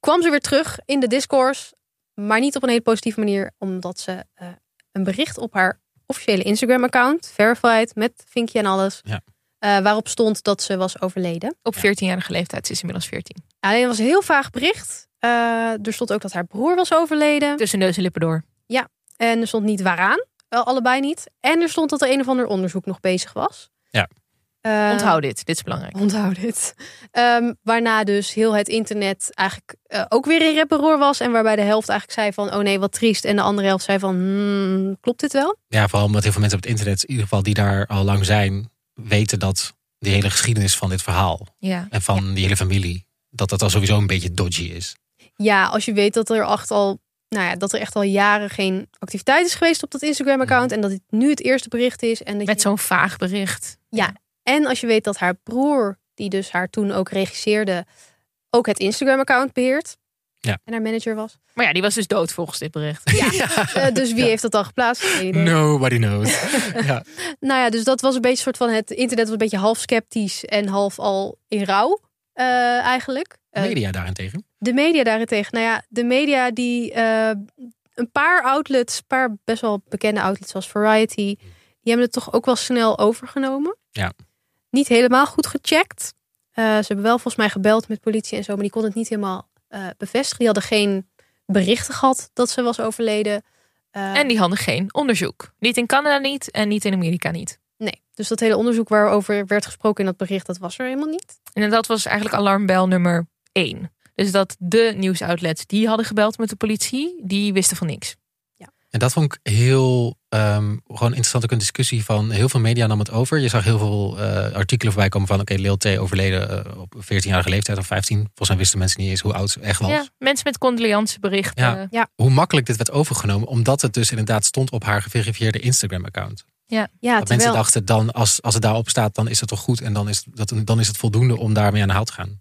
kwam ze weer terug in de discourse. Maar niet op een hele positieve manier. Omdat ze eh, een bericht op haar officiële Instagram-account, verified met vinkje en alles,
Ja.
eh, eh, waarop stond dat ze was overleden.
Op 14-jarige leeftijd. Ze is inmiddels 14.
Alleen het was een heel vaag bericht. Eh, er stond ook dat haar broer was overleden.
Tussen neus en lippen door.
En er stond niet waaraan. Wel, allebei niet. En er stond dat er een of ander onderzoek nog bezig was.
Ja.
Eh,
Onthoud dit. Dit is belangrijk.
Onthoud dit. Ehm, waarna dus heel het internet eigenlijk eh, ook weer in reparoor was. En waarbij de helft eigenlijk zei van, oh nee, wat triest. En de andere helft zei van, hmm, klopt dit wel?
Ja, vooral omdat heel veel mensen op het internet, in ieder geval die daar al lang zijn, weten dat die hele geschiedenis van dit verhaal
Ja.
en van die hele familie, dat dat al sowieso een beetje dodgy is.
Ja, als je weet dat er echt al, nou ja, dat er echt al jaren geen activiteit is geweest op dat Instagram-account. En dat dit nu het eerste bericht is. En, dat
Met
je,
zo'n vaag bericht.
en als je weet dat haar broer, die dus haar toen ook regisseerde, ook het Instagram-account beheert.
Ja.
En haar manager was.
Maar ja, die was dus dood volgens dit bericht.
Ja. Eh, dus wie heeft dat dan geplaatst? Geen idee.
Nobody knows. ja.
Nou ja, dus dat was een beetje soort van het internet was een beetje half sceptisch en half al in rouw eh, eigenlijk. Eh,
Media daarentegen.
de media daarentegen, nou ja, de media die eh, een paar outlets, een paar best wel bekende outlets zoals Variety, die hebben het toch ook wel snel overgenomen.
Ja.
Niet helemaal goed gecheckt. Eh, ze hebben wel volgens mij gebeld met politie en zo, maar die kon het niet helemaal eh, bevestigen. Die hadden geen berichten gehad dat ze was overleden. Eh,
En die hadden geen onderzoek. Niet in Canada niet en niet in Amerika niet.
Nee, dus dat hele onderzoek waarover werd gesproken in dat bericht, dat was er helemaal niet.
En dat was eigenlijk alarmbel nummer één. Dus dat de nieuwsoutlets die hadden gebeld met de politie, die wisten van niks.
En dat vond ik heel ehm, gewoon interessant ook een discussie van heel veel media nam het over. Je zag heel veel eh, artikelen voorbij komen van oké, Lil T overleden eh, op 14-jarige leeftijd of 15. Volgens mij wisten mensen niet eens hoe oud ze echt was.
Ja, mensen met condoleanceberichten.
Ja. Hoe makkelijk dit werd overgenomen, omdat het dus inderdaad stond op haar geverifieerde Instagram account.
Ja,
dat mensen
terwijl,
dachten, dan, als, als het daarop staat, dan is het toch goed. En dan is, dat, dan is het voldoende om daarmee aan de haal te gaan.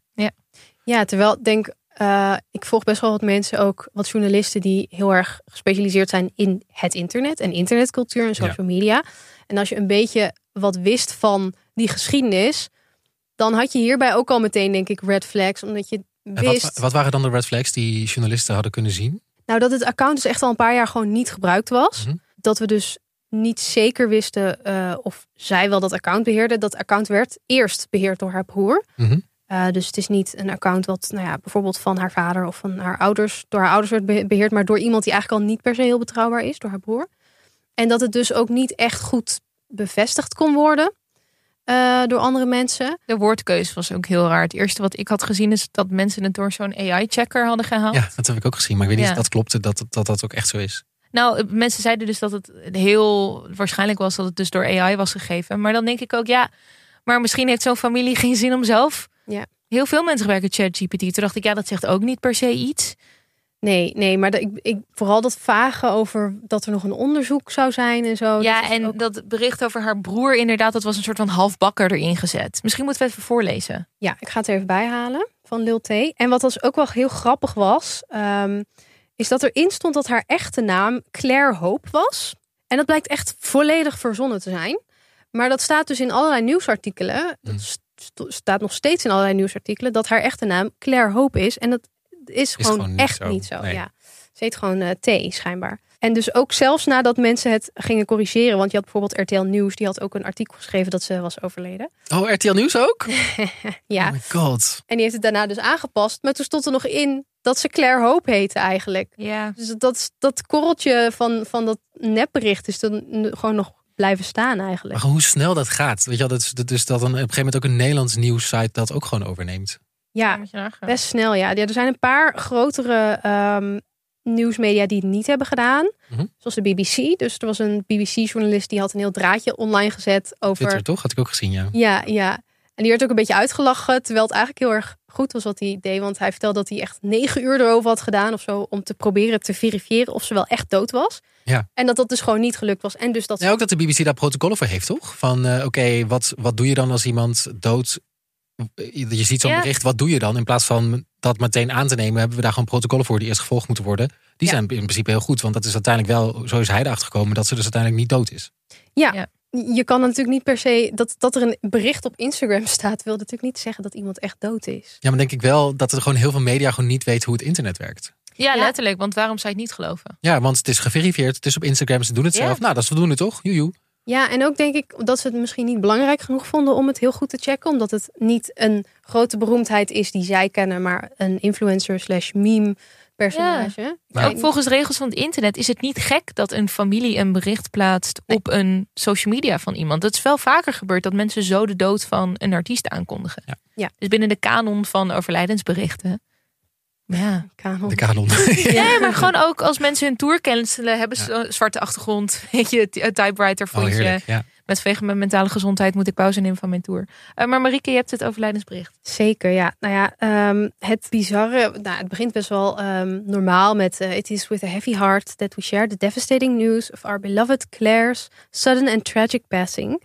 ja, terwijl ik denk, eh, ik volg best wel wat mensen ook, wat journalisten die heel erg gespecialiseerd zijn in het internet en internetcultuur en social media. En als je een beetje wat wist van die geschiedenis, dan had je hierbij ook al meteen, denk ik, red flags, omdat je
En
wist.
wat, wat waren dan de red flags die journalisten hadden kunnen zien?
Nou, dat het account dus echt al een paar jaar gewoon niet gebruikt was.
Mhm.
Dat we dus niet zeker wisten eh, of zij wel dat account beheerde. Dat account werd eerst beheerd door haar broer.
Mhm.
Eh, dus het is niet een account wat nou ja, bijvoorbeeld van haar vader of van haar ouders door haar ouders werd be- beheerd, maar door iemand die eigenlijk al niet per se heel betrouwbaar is, door haar broer. En dat het dus ook niet echt goed bevestigd kon worden eh, door andere mensen.
De woordkeuze was ook heel raar. Het eerste wat ik had gezien is dat mensen het door zo'n AI-checker hadden gehaald.
Ja, dat heb ik ook gezien. Maar ik weet niet
Ja.
of dat klopte, dat dat, dat dat ook echt zo is.
Nou, eh, mensen zeiden dus dat het heel waarschijnlijk was dat het dus door AI was gegeven. Maar dan denk ik ook, ja, maar misschien heeft zo'n familie geen zin om zelf.
Ja.
Heel veel mensen gebruiken ChatGPT. Toen dacht ik, ja, dat zegt ook niet per se
Oh,
iets.
Nee, nee, maar dat, ik, ik, vooral dat vage over dat er nog een onderzoek zou zijn en zo.
ja,
dat is
en
ook-
dat bericht over haar broer, inderdaad, dat was een soort van halfbakker erin gezet. Misschien moeten we even voorlezen.
Ja, ik ga het er even bij halen van Lil T. En wat dus ook wel heel grappig was, ehm, is dat erin stond dat haar echte naam Claire Hope was. En dat blijkt echt volledig verzonnen te zijn. Maar dat staat dus in allerlei nieuwsartikelen.
Hmm.
Dat st- st- staat nog steeds in allerlei nieuwsartikelen dat haar echte naam Claire Hope is. En dat is gewoon,
gewoon niet
echt
zo.
niet zo.
Nee.
Ja. Ze heet gewoon eh, T schijnbaar. En dus ook zelfs nadat mensen het gingen corrigeren. Want je had bijvoorbeeld RTL Nieuws. Die had ook een artikel geschreven dat ze was overleden.
Oh, RTL Nieuws ook?
Ja,
Oh my god.
en die heeft het daarna dus aangepast. Maar toen stond er nog in dat ze Claire Hope heette eigenlijk.
Ja.
Dus dat, is- dat korreltje van, van dat nepbericht is dan n- gewoon nog blijven staan eigenlijk.
Maar hoe snel dat gaat. Weet je wel, dat, is- dat, dus dat dan op een gegeven moment ook een Nederlands nieuws site dat ook gewoon overneemt.
Ja, best snel ja. ja er zijn een paar grotere ehm, nieuwsmedia die het niet hebben gedaan.
Mhm.
Zoals de BBC. Dus er was een BBC-journalist die had een heel draadje online gezet over...
Twitter toch? Had ik ook gezien, ja.
Ja, ja. En die werd ook een beetje uitgelachen, terwijl het eigenlijk heel erg goed was wat hij deed. Want hij vertelde dat hij echt negen uur erover had gedaan of zo, om te proberen te verifiëren of ze wel echt dood was.
Ja.
En dat dat dus gewoon niet gelukt was. En dus dat ze-
Ja, ook dat de BBC daar protocollen voor heeft, toch? Van eh, oké, wat, wat doe je dan als iemand dood... eh, Je je ziet zo'n
Ja.
bericht, wat doe je dan? In plaats van dat meteen aan te nemen, hebben we daar gewoon protocollen voor die eerst gevolgd moeten worden. Die
Ja.
zijn in principe heel goed, want dat is uiteindelijk wel, zo is hij erachter gekomen, dat ze dus uiteindelijk niet dood is.
je kan natuurlijk niet per se, dat, dat er een bericht op Instagram staat, wil natuurlijk niet zeggen dat iemand echt dood is.
Ja, maar denk ik wel dat er gewoon heel veel media gewoon niet weet hoe het internet werkt.
Ja,
Ja.
letterlijk. Want waarom zou je het niet geloven?
Ja, want het is geverifieerd, het is op Instagram, ze doen het
Ja.
zelf. Nou, dat is voldoende toch? Joejoe.
Ja, en ook denk ik dat ze het misschien niet belangrijk genoeg vonden om het heel goed te checken. Omdat het niet een grote beroemdheid is die zij kennen, maar een influencer slash meme personage.
Maar-
Ik
Ook
weet
volgens regels van het internet is het niet gek dat een familie een bericht plaatst op een social media van iemand. Dat is wel vaker gebeurd dat mensen zo de dood van een artiest aankondigen.
Ja.
Ja.
Dus binnen de kanon van overlijdensberichten. Ja.
niet, kanon.
De kanon.
Nee, maar gewoon ook als mensen hun tour cancelen, hebben ze een zwarte achtergrond. Weet je, een typewriter
Oh,
voor je.
heerlijk. Ja.
Met vanwege mijn mentale gezondheid moet ik pauze nemen van mijn tour. Eh, maar Marieke, je hebt het overlijdensbericht.
Zeker, ja. Nou ja, ehm, het bizarre, nou, het begint best wel ehm, normaal met eh, It is with a heavy heart that we share the devastating news of our beloved Claire's sudden and tragic passing.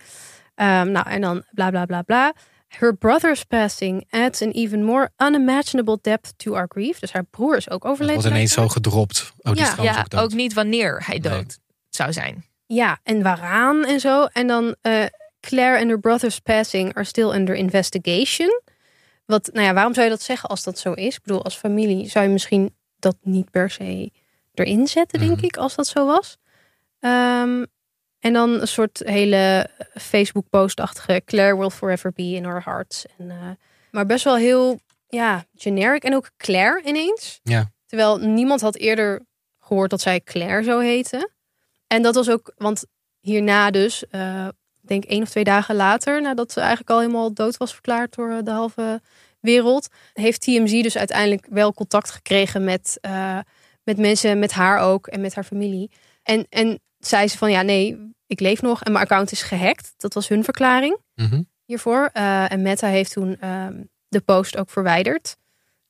Ehm, nou, en dan bla bla bla bla. Her brother's passing adds an even more unimaginable depth to our grief. Dus haar broer is ook
Dat
overleden.
was ineens zo
blijkbaar.
gedropt. Oh, die
Ja.
is trouwens
ja,
ook dood.
ook niet wanneer hij dood
Nee.
zou zijn.
Ja, en waaraan en zo. En dan eh, Claire and her brother's passing are still under investigation. Wat, nou ja, waarom zou je dat zeggen als dat zo is? Ik bedoel, als familie zou je misschien dat niet per se erin zetten, denk
Mhm.
ik, als dat zo was. Ehm, en dan een soort hele Facebook-postachtige Claire will forever be in our hearts. En, eh, maar best wel heel, ja, generic. En ook Claire ineens.
Ja.
Terwijl niemand had eerder gehoord dat zij Claire zou heten. En dat was ook, want hierna dus, eh, ik denk één of twee dagen later, nadat ze eigenlijk al helemaal dood was verklaard door eh, de halve wereld, heeft TMZ dus uiteindelijk wel contact gekregen met, eh, met mensen, met haar ook en met haar familie. En, en zei ze van ja, nee, ik leef nog en mijn account is gehackt. Dat was hun verklaring
Mhm.
hiervoor. Eh, en Meta heeft toen ehm, de post ook verwijderd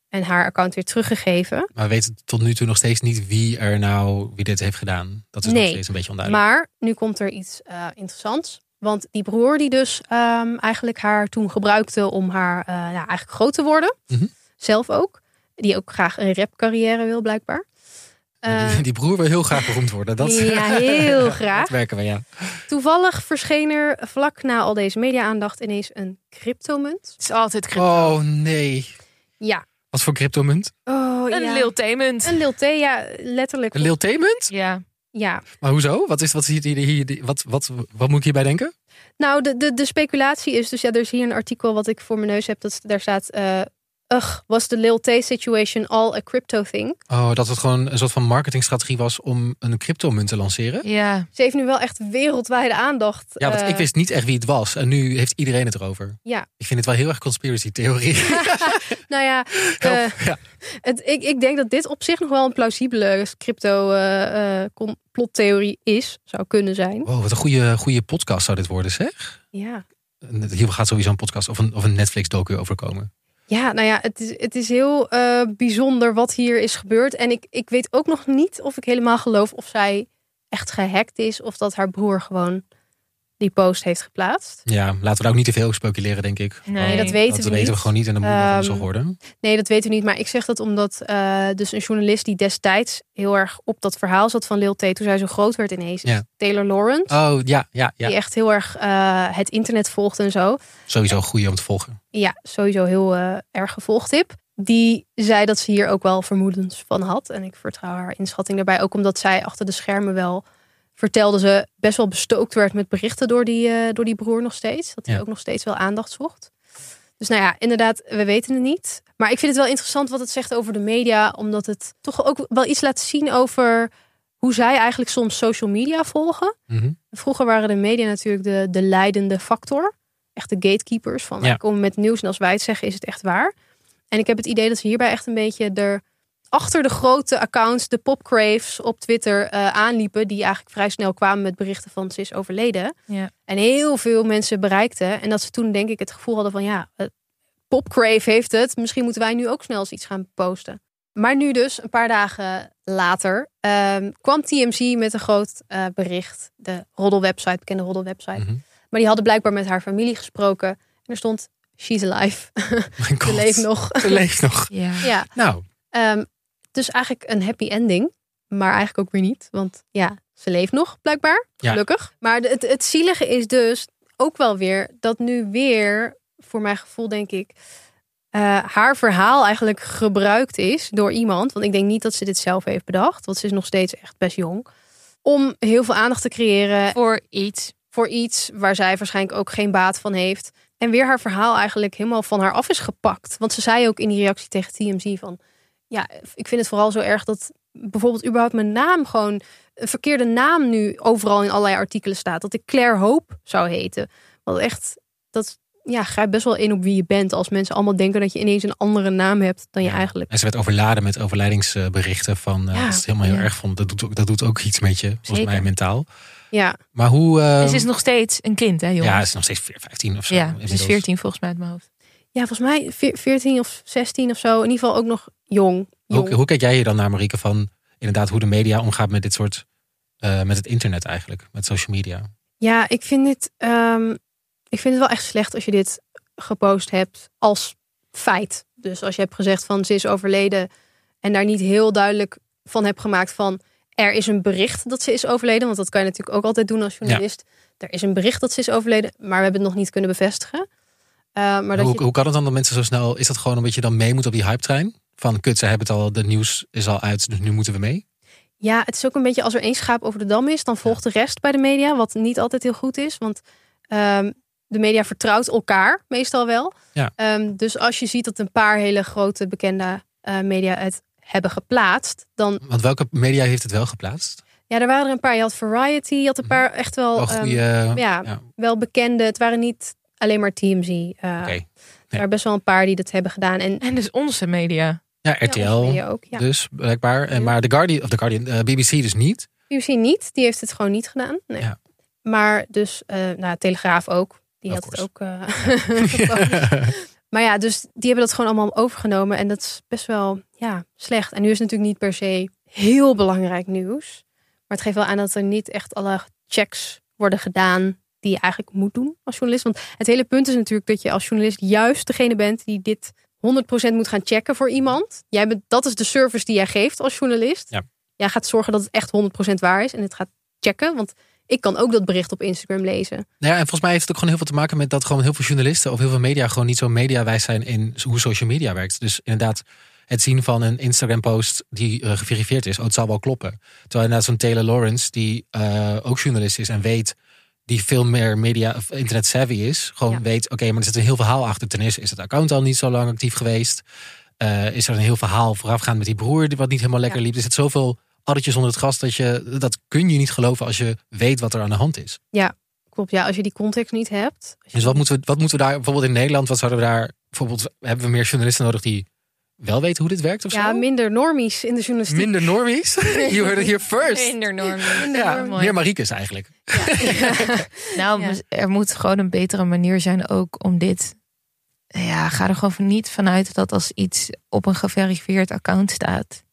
en haar account weer teruggegeven.
Maar we weten tot nu toe nog steeds niet wie er nou wie dit heeft gedaan. Dat is nog
Nee.
steeds een beetje onduidelijk.
Maar nu komt er iets eh, interessants. Want die broer die dus ehm, eigenlijk haar toen gebruikte om haar eh, ja, eigenlijk groot te worden.
Mhm.
Zelf ook. Die ook graag een rapcarrière wil blijkbaar.
Ja, die, die broer wil heel graag beroemd worden. Dat,
Eh, ja, heel graag.
dat werken we, ja.
Toevallig verscheen er vlak na al deze media-aandacht ineens een cryptomunt.
Het is altijd crypto.
Oh nee.
Ja.
Wat voor cryptomunt?
Oh,
Een Lil Tament.
Een Lil T, ja, letterlijk.
Een Liltemunt?
Ja.
Ja.
Maar hoezo? Wat, is, wat, is hier, hier- hier- die- wat, wat, wat moet ik hierbij denken?
Nou, de, de, de speculatie is dus, ja, er is hier een artikel wat ik voor mijn neus heb. Dat, daar staat, eh ugh, was de Lil T situation all a crypto thing?
Oh, dat het gewoon een soort van marketingstrategie was om een cryptomunt te lanceren.
Ja.
Ze heeft nu wel echt wereldwijde aandacht.
Ja, want
eh,
ik wist niet echt wie het was. En nu heeft iedereen het erover.
Ja.
Ik vind het wel heel erg conspiracy theorie.
Nou ja, eh,
Help. ja.
het, ik, ik denk dat dit op zich nog wel een plausibele crypto eh, eh, complottheorie is. Zou kunnen zijn.
Wow, wat een goede, goede podcast zou dit worden, zeg.
Ja.
Hier gaat sowieso een podcast of een, of een Netflix-docu overkomen.
Ja, nou ja, het is, het is heel eh, bijzonder wat hier is gebeurd. En ik, ik weet ook nog niet of ik helemaal geloof of zij echt gehackt is. Of dat haar broer gewoon die post heeft geplaatst.
Ja, laten we daar ook niet te veel over speculeren, denk ik.
Nee,
Want
dat
weten
dat
we
weten
niet.
we gewoon niet en dan moeten we
Ehm,
ons nog worden.
Nee, dat weten we niet. Maar ik zeg dat omdat eh, dus een journalist die destijds heel erg op dat verhaal zat van Lil T. Toen zij zo groot werd ineens. is
Ja.
Taylor Lawrence.
Oh, ja, ja, ja.
Die echt heel erg eh, het internet volgt en zo.
Sowieso een goede om te volgen.
Ja, sowieso heel eh, erg gevolgtip. Die zei dat ze hier ook wel vermoedens van had. En ik vertrouw haar inschatting daarbij. Ook omdat zij achter de schermen wel vertelde ze best wel bestookt werd met berichten door die, eh, door die broer nog steeds. Dat hij
Ja.
ook nog steeds wel aandacht zocht. Dus nou ja, inderdaad, we weten het niet. Maar ik vind het wel interessant wat het zegt over de media. Omdat het toch ook wel iets laat zien over hoe zij eigenlijk soms social media volgen.
Mhm.
Vroeger waren de media natuurlijk de, de leidende factor. Echt de gatekeepers. Van
Ja.
wij komen met nieuws en als wij het zeggen is het echt waar. En ik heb het idee dat ze hierbij echt een beetje er achter de grote accounts, de popcraves op Twitter eh, aanliepen. Die eigenlijk vrij snel kwamen met berichten van ze is overleden.
Ja.
En heel veel mensen bereikten. En dat ze toen denk ik het gevoel hadden van ja, eh, popcrave heeft het. Misschien moeten wij nu ook snel eens iets gaan posten. Maar nu dus, een paar dagen later, ehm, kwam TMZ met een groot eh, bericht. De roddelwebsite, bekende roddelwebsite.
Mhm.
Maar die hadden blijkbaar met haar familie gesproken. En er stond, she's alive.
Mijn god.
Ze leeft nog.
Ze leeft nog.
Ja.
ja,
Nou,
ehm, dus eigenlijk een happy ending. Maar eigenlijk ook weer niet. Want ja, ze leeft nog, blijkbaar.
Ja.
Gelukkig. Maar de- het, het zielige is dus ook wel weer dat nu weer, voor mijn gevoel denk ik, eh, haar verhaal eigenlijk gebruikt is door iemand. Want ik denk niet dat ze dit zelf heeft bedacht. Want ze is nog steeds echt best jong. Om heel veel aandacht te creëren
Voor iets.
voor iets waar zij waarschijnlijk ook geen baat van heeft. En weer haar verhaal eigenlijk helemaal van haar af is gepakt. Want ze zei ook in die reactie tegen TMZ van... Ja, ik vind het vooral zo erg dat bijvoorbeeld überhaupt mijn naam gewoon... een verkeerde naam nu overal in allerlei artikelen staat. Dat ik Claire Hope zou heten. Want echt, dat ja, grijpt best wel in op wie je bent. Als mensen allemaal denken dat je ineens een andere naam hebt dan je
Ja.
eigenlijk...
En ze werd overladen met overlijdingsberichten van eh,
Ja,
dat ze het helemaal heel
ja.
erg vond. Dat doet, ook- dat doet ook iets met je, volgens
Zeker.
mij mentaal.
Ja,
Maar hoe... eh,
En ze is nog steeds een kind, hè,
ja, ze
jongens?
is nog steeds 15 of zo.
Ja, ze
inmiddels.
is 14 volgens mij uit mijn hoofd.
ja volgens mij veer- 14 of 16 of zo. In ieder geval ook nog jong. jong.
Hoe, hoe kijk jij hier dan naar, Marieke, van inderdaad hoe de media omgaat met dit soort... eh, met het internet eigenlijk, met social media.
Ja, ik vind dit. ehm, ik vind het wel echt slecht als je dit gepost hebt als feit. Dus als je hebt gezegd van ze is overleden. En daar niet heel duidelijk van hebt gemaakt van er is een bericht dat ze is overleden. Want dat kan je natuurlijk ook altijd doen als journalist. Er is een bericht dat ze is overleden, maar we hebben het nog niet kunnen bevestigen. Eh, maar dat
hoe,
je,
hoe kan het dan dat mensen zo snel... Is dat gewoon omdat je dan mee moet op die hype-trein? Van kut, ze hebben het al, de nieuws is al uit, dus nu moeten we mee.
Ja, het is ook een beetje als er één schaap over de dam is, dan volgt de rest bij de media, wat niet altijd heel goed is, want ehm, de media vertrouwt elkaar meestal wel.
Ja.
Ehm, dus als je ziet dat een paar hele grote bekende eh, media het hebben geplaatst, dan
Want welke media heeft het wel geplaatst?
ja, er waren er een paar. Je had Variety, je had een paar echt wel,
Mhm. Wel
ehm,
goede...
ja, wel bekende. Het waren niet alleen maar TMZ. eh
Oké.
Er waren best wel een paar die dat hebben gedaan en
En dus onze media.
Ja, RTL.
ja, onze media ook. Ja.
Dus blijkbaar. En, maar de Guardian, of de Guardian, eh, BBC dus niet.
BBC niet, die heeft het gewoon niet gedaan. Nee.
Ja.
Maar dus, eh nou, Telegraaf ook. Die
Of
had het
course.
ook. eh, gepost. maar ja, dus die hebben dat gewoon allemaal overgenomen. En dat is best wel ja, slecht. En nu is het natuurlijk niet per se heel belangrijk nieuws. Maar het geeft wel aan dat er niet echt alle checks worden gedaan die je eigenlijk moet doen als journalist. Want het hele punt is natuurlijk dat je als journalist juist degene bent die dit 100% moet gaan checken voor iemand. Jij bent, dat is de service die jij geeft als journalist.
Ja.
Jij gaat zorgen dat het echt 100% waar is en het gaat checken. Want ik kan ook dat bericht op Instagram lezen.
Nou ja, en volgens mij heeft het ook gewoon heel veel te maken met dat gewoon heel veel journalisten of heel veel media gewoon niet zo mediawijs zijn in hoe social media werkt. Dus inderdaad, het zien van een Instagram-post die eh, geverifieerd is, oh, het zal wel kloppen. Terwijl inderdaad zo'n Taylor Lawrence, die eh, ook journalist is en weet, die veel meer media of internet savvy is, gewoon
Ja.
weet, oké, maar er zit een heel verhaal achter. Ten eerste is het account al niet zo lang actief geweest. Eh, is er een heel verhaal voorafgaand met die broer, die- wat niet helemaal lekker
Ja.
liep. Er zit zoveel addertjes onder het gras dat je, dat kun je niet geloven als je weet wat er aan de hand is.
Klopt, ja, als je die context niet hebt. als je-
Dus wat moeten, we, wat moeten we daar, bijvoorbeeld in Nederland, wat zouden we daar, bijvoorbeeld, hebben we meer journalisten nodig die wel weten hoe dit werkt of
ja,
zo?
minder normies in de journalistiek.
Minder normies? you heard it here first.
Minder normen.
Ja,
normies.
meer Mariekes eigenlijk.
Nou,
Ja.
er moet gewoon een betere manier zijn ook om dit. Ja, ga er gewoon van niet vanuit dat als iets op een geverifieerd account staat.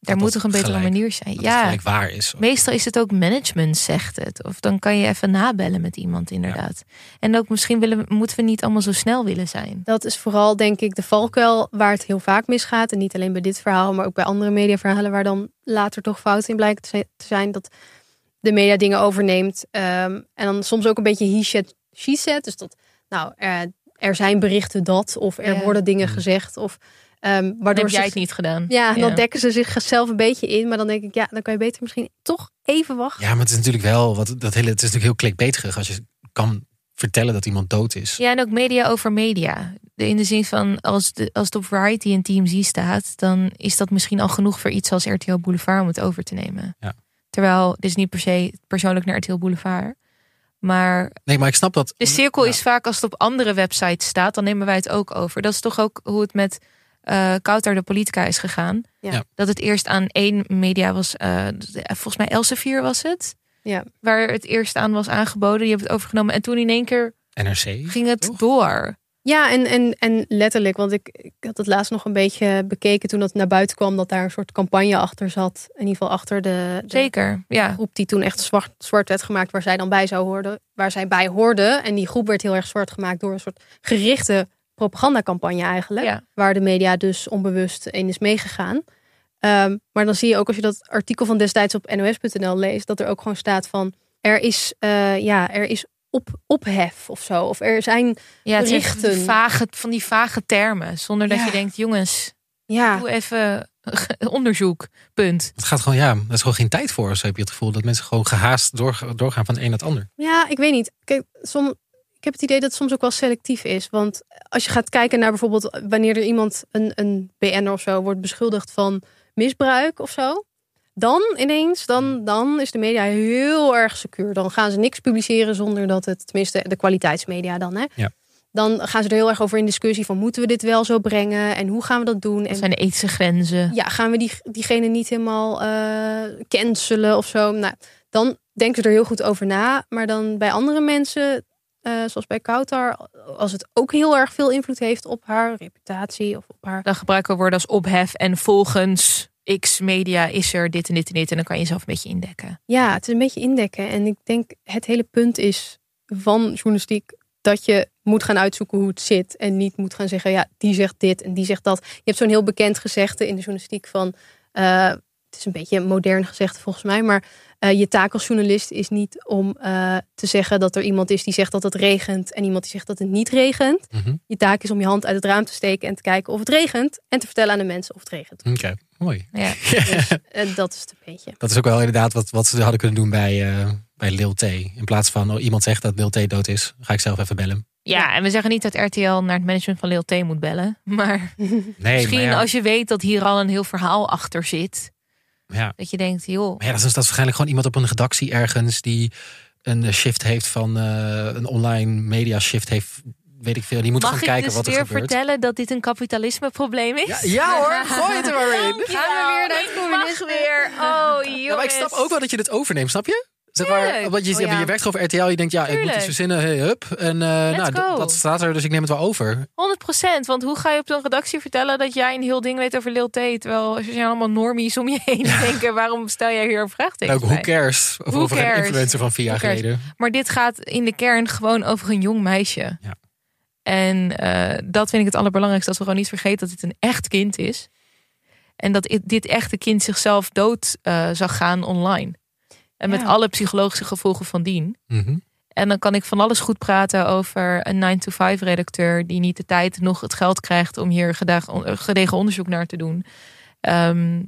Daar
dat
moet toch een betere
gelijk-
manier zijn.
Dat het
Ja,
gelijk waar is.
meestal is het ook management zegt het. Of dan kan je even nabellen met iemand inderdaad. En ook misschien willen, we- moeten we niet allemaal zo snel willen zijn.
Dat is vooral, denk ik, de valkuil waar het heel vaak misgaat. En niet alleen bij dit verhaal, maar ook bij andere mediaverhalen... waar dan later toch fouten in blijken te zi- te zijn. Dat de media dingen overneemt. Ehm, en dan soms ook een beetje he said, she said. Dus dat, nou, eh, er zijn berichten dat. Of er
Ja.
worden dingen gezegd. Of, ehm, waardoor
Dan heb
ze-
jij het niet gedaan.
Ja, en dan dekken ze zichzelf een beetje in. Maar dan denk ik, ja, dan kan je beter misschien toch even wachten.
Ja, maar het is natuurlijk wel, wat, dat hele, het is natuurlijk heel clickbaiterig als je kan vertellen dat iemand dood is.
Ja, en ook media over media. De- In de zin van, als, de, als het op Variety en TMZ staat... dan is dat misschien al genoeg voor iets als RTL Boulevard om het over te nemen.
Ja.
Terwijl, dit is niet per se persoonlijk naar RTL Boulevard. Maar
Nee, maar ik snap dat.
de cirkel
Ja.
is vaak als het op andere websites staat... dan nemen wij het ook over. Dat is toch ook hoe het met eh Kouter de Politica is gegaan.
Ja.
Ja.
Dat het eerst aan één media was... eh, volgens mij Elsevier was het...
Ja.
waar het eerst aan was aangeboden. Die hebben het overgenomen. En toen in één keer
NRC.
ging het
Toch?
door.
Ja, en, en, en letterlijk, want ik, ik had het laatst nog een beetje bekeken toen dat naar buiten kwam, dat daar een soort campagne achter zat. In ieder geval achter de, de
Zeker, ja.
groep die toen echt zwart, zwart werd gemaakt, waar zij dan bij zou horen, waar zij bij hoorde. En die groep werd heel erg zwart gemaakt door een soort gerichte propagandacampagne eigenlijk,
Ja.
waar de media dus onbewust in is meegegaan. Ehm, maar dan zie je ook als je dat artikel van destijds op nos.nl leest, dat er ook gewoon staat van er is, eh, ja, er is op, ophef of zo. Of er zijn
ja het zijn echt
berichten.
Vage, van die vage termen. Zonder dat
Ja.
je denkt, jongens,
Ja.
Doe even onderzoek. Punt.
Het gaat gewoon, ja, er is gewoon geen tijd voor. Zo heb je het gevoel dat mensen gewoon gehaast door, doorgaan van het een naar het ander.
Ja, ik weet niet. Kijk, som, ik heb het idee dat het soms ook wel selectief is. Want als je gaat kijken naar bijvoorbeeld wanneer er iemand, een, een BN'er of zo, wordt beschuldigd van misbruik of zo. Dan ineens, dan, dan is de media heel erg secuur. Dan gaan ze niks publiceren zonder dat het, tenminste de kwaliteitsmedia dan, hè.
Ja.
Dan gaan ze er heel erg over in discussie van moeten we dit wel zo brengen en hoe gaan we dat doen.
Dat
En
zijn de ethische grenzen.
ja, gaan we die, diegene niet helemaal eh cancelen of zo? Nou, dan denken ze er heel goed over na. Maar dan bij andere mensen, eh, zoals bij Kautar, als het ook heel erg veel invloed heeft op haar reputatie of op haar.
Dan gebruiken we woorden als ophef en volgens X media is er dit en dit en dit. En dan kan je zelf een beetje indekken.
Ja, het is een beetje indekken. En ik denk het hele punt is van journalistiek dat je moet gaan uitzoeken hoe het zit. En niet moet gaan zeggen, ja, die zegt dit en die zegt dat. Je hebt zo'n heel bekend gezegde in de journalistiek van... eh, het is een beetje een modern gezegde volgens mij. Maar eh, je taak als journalist is niet om eh, te zeggen dat er iemand is die zegt dat het regent. En iemand die zegt dat het niet regent.
Mhm.
Je taak is om je hand uit het raam te steken en te kijken of het regent. En te vertellen aan de mensen of het regent.
Oké, mooi.
Ja.
Dus eh, dat is het een beetje.
Dat is ook wel inderdaad wat, wat ze hadden kunnen doen bij, eh, bij Lil T. In plaats van, oh, iemand zegt dat Lil T dood is, ga ik zelf even bellen.
ja, en we zeggen niet dat RTL naar het management van Lil T moet bellen. Maar
Nee,
misschien
maar ja,
als je weet dat hier al een heel verhaal achter zit.
ja.
Dat je denkt, joh,
Maar ja, dat is, dat is waarschijnlijk gewoon iemand op een redactie ergens die een eh, shift heeft van eh, een online media shift heeft, weet ik veel. Die moet
mag
gaan
ik
kijken
dus
wat er
weer
gebeurt.
vertellen dat dit een kapitalisme probleem is?
Ja, ja hoor, gooi het er maar in.
Gaan we weer naar het communisme? weer. Oh, jongens.
Ja, maar ik snap ook wel dat je dit overneemt, snap je? Zeg maar,
Tuurlijk.
omdat je,
Oh, ja.
je werkt gewoon voor RTL, je denkt, ja, ik moet
Tuurlijk.
iets verzinnen, hey, hup. En eh,
Let's
nou, dat-
go.
dat staat er, dus ik neem het wel over.
100%. Want hoe ga je op zo'n redactie vertellen dat jij een heel ding weet over Lil T? Terwijl er zijn allemaal normies om je heen die denken, waarom stel jij hier een
En ook
vraagteken
hoe
bij?
cares of
Who
over een
cares?
influencer van vier jaar
Who cares?
geleden.
Maar dit gaat in de kern gewoon over een jong meisje.
Ja.
En eh, dat vind ik het allerbelangrijkste. Dat we gewoon niet vergeten dat dit een echt kind is. En dat i- dit echte kind zichzelf dood eh, zag gaan online. En met
Ja.
alle psychologische gevolgen van dien.
Mhm.
En dan kan ik van alles goed praten over een 9-to-5 redacteur die niet de tijd nog het geld krijgt om hier gedag- eh, gedegen onderzoek naar te doen. Ehm,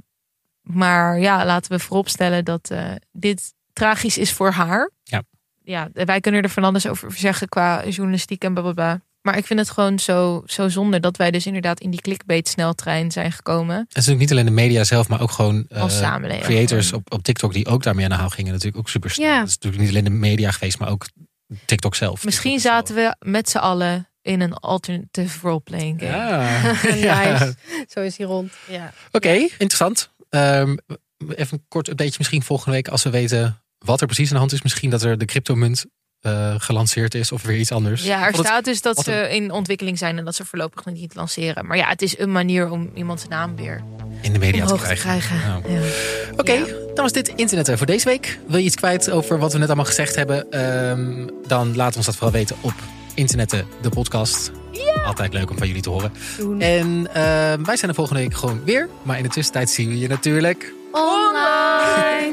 maar ja, laten we vooropstellen dat eh, dit tragisch is voor haar.
Ja.
ja, wij kunnen er van alles over zeggen qua journalistiek en blablabla. Maar ik vind het gewoon zo, zo zonde dat wij dus inderdaad in die clickbait sneltrein zijn gekomen.
En natuurlijk niet alleen de media zelf, maar ook gewoon eh,
Als samenleving.
creators op, op TikTok die ook daarmee aan de haal gingen. Natuurlijk ook super snel.
Ja.
Dat is natuurlijk niet alleen de media geweest, maar ook TikTok zelf.
Misschien zaten we met z'n allen in een alternative roleplaying game.
Ja.
Nice.
Ja.
Zo is hij rond. Ja.
Oké, interessant. Ehm, even een kort updateje misschien volgende week als we weten wat er precies aan de hand is. Misschien dat er de cryptomunt eh, gelanceerd is of weer iets anders.
Ja,
Ik
er
vond het-
staat dus dat
wat
ze in ontwikkeling zijn en dat ze voorlopig nog niet lanceren. Maar ja, het is een manier om iemands naam weer
in de media te
omhoog te
krijgen.
krijgen.
Nou.
Ja.
Oké, dan was dit internet er voor deze week. Wil je iets kwijt over wat we net allemaal gezegd hebben? Ehm, dan laat ons dat vooral weten op internetten, de podcast. Altijd leuk om van jullie te horen. En ehm, wij zijn er volgende week gewoon weer. Maar in de tussentijd zien we je natuurlijk.
Online.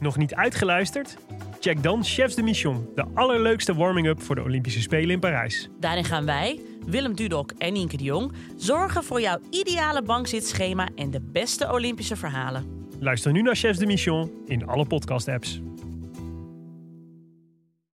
Nog niet uitgeluisterd? Check dan Chefs de Mission, de allerleukste warming-up voor de Olympische Spelen in Parijs.
Daarin gaan wij, Willem Dudok en Nienke de Jong, zorgen voor jouw ideale bankzitschema en de beste Olympische verhalen.
Luister nu naar Chefs de Mission in alle podcast-apps.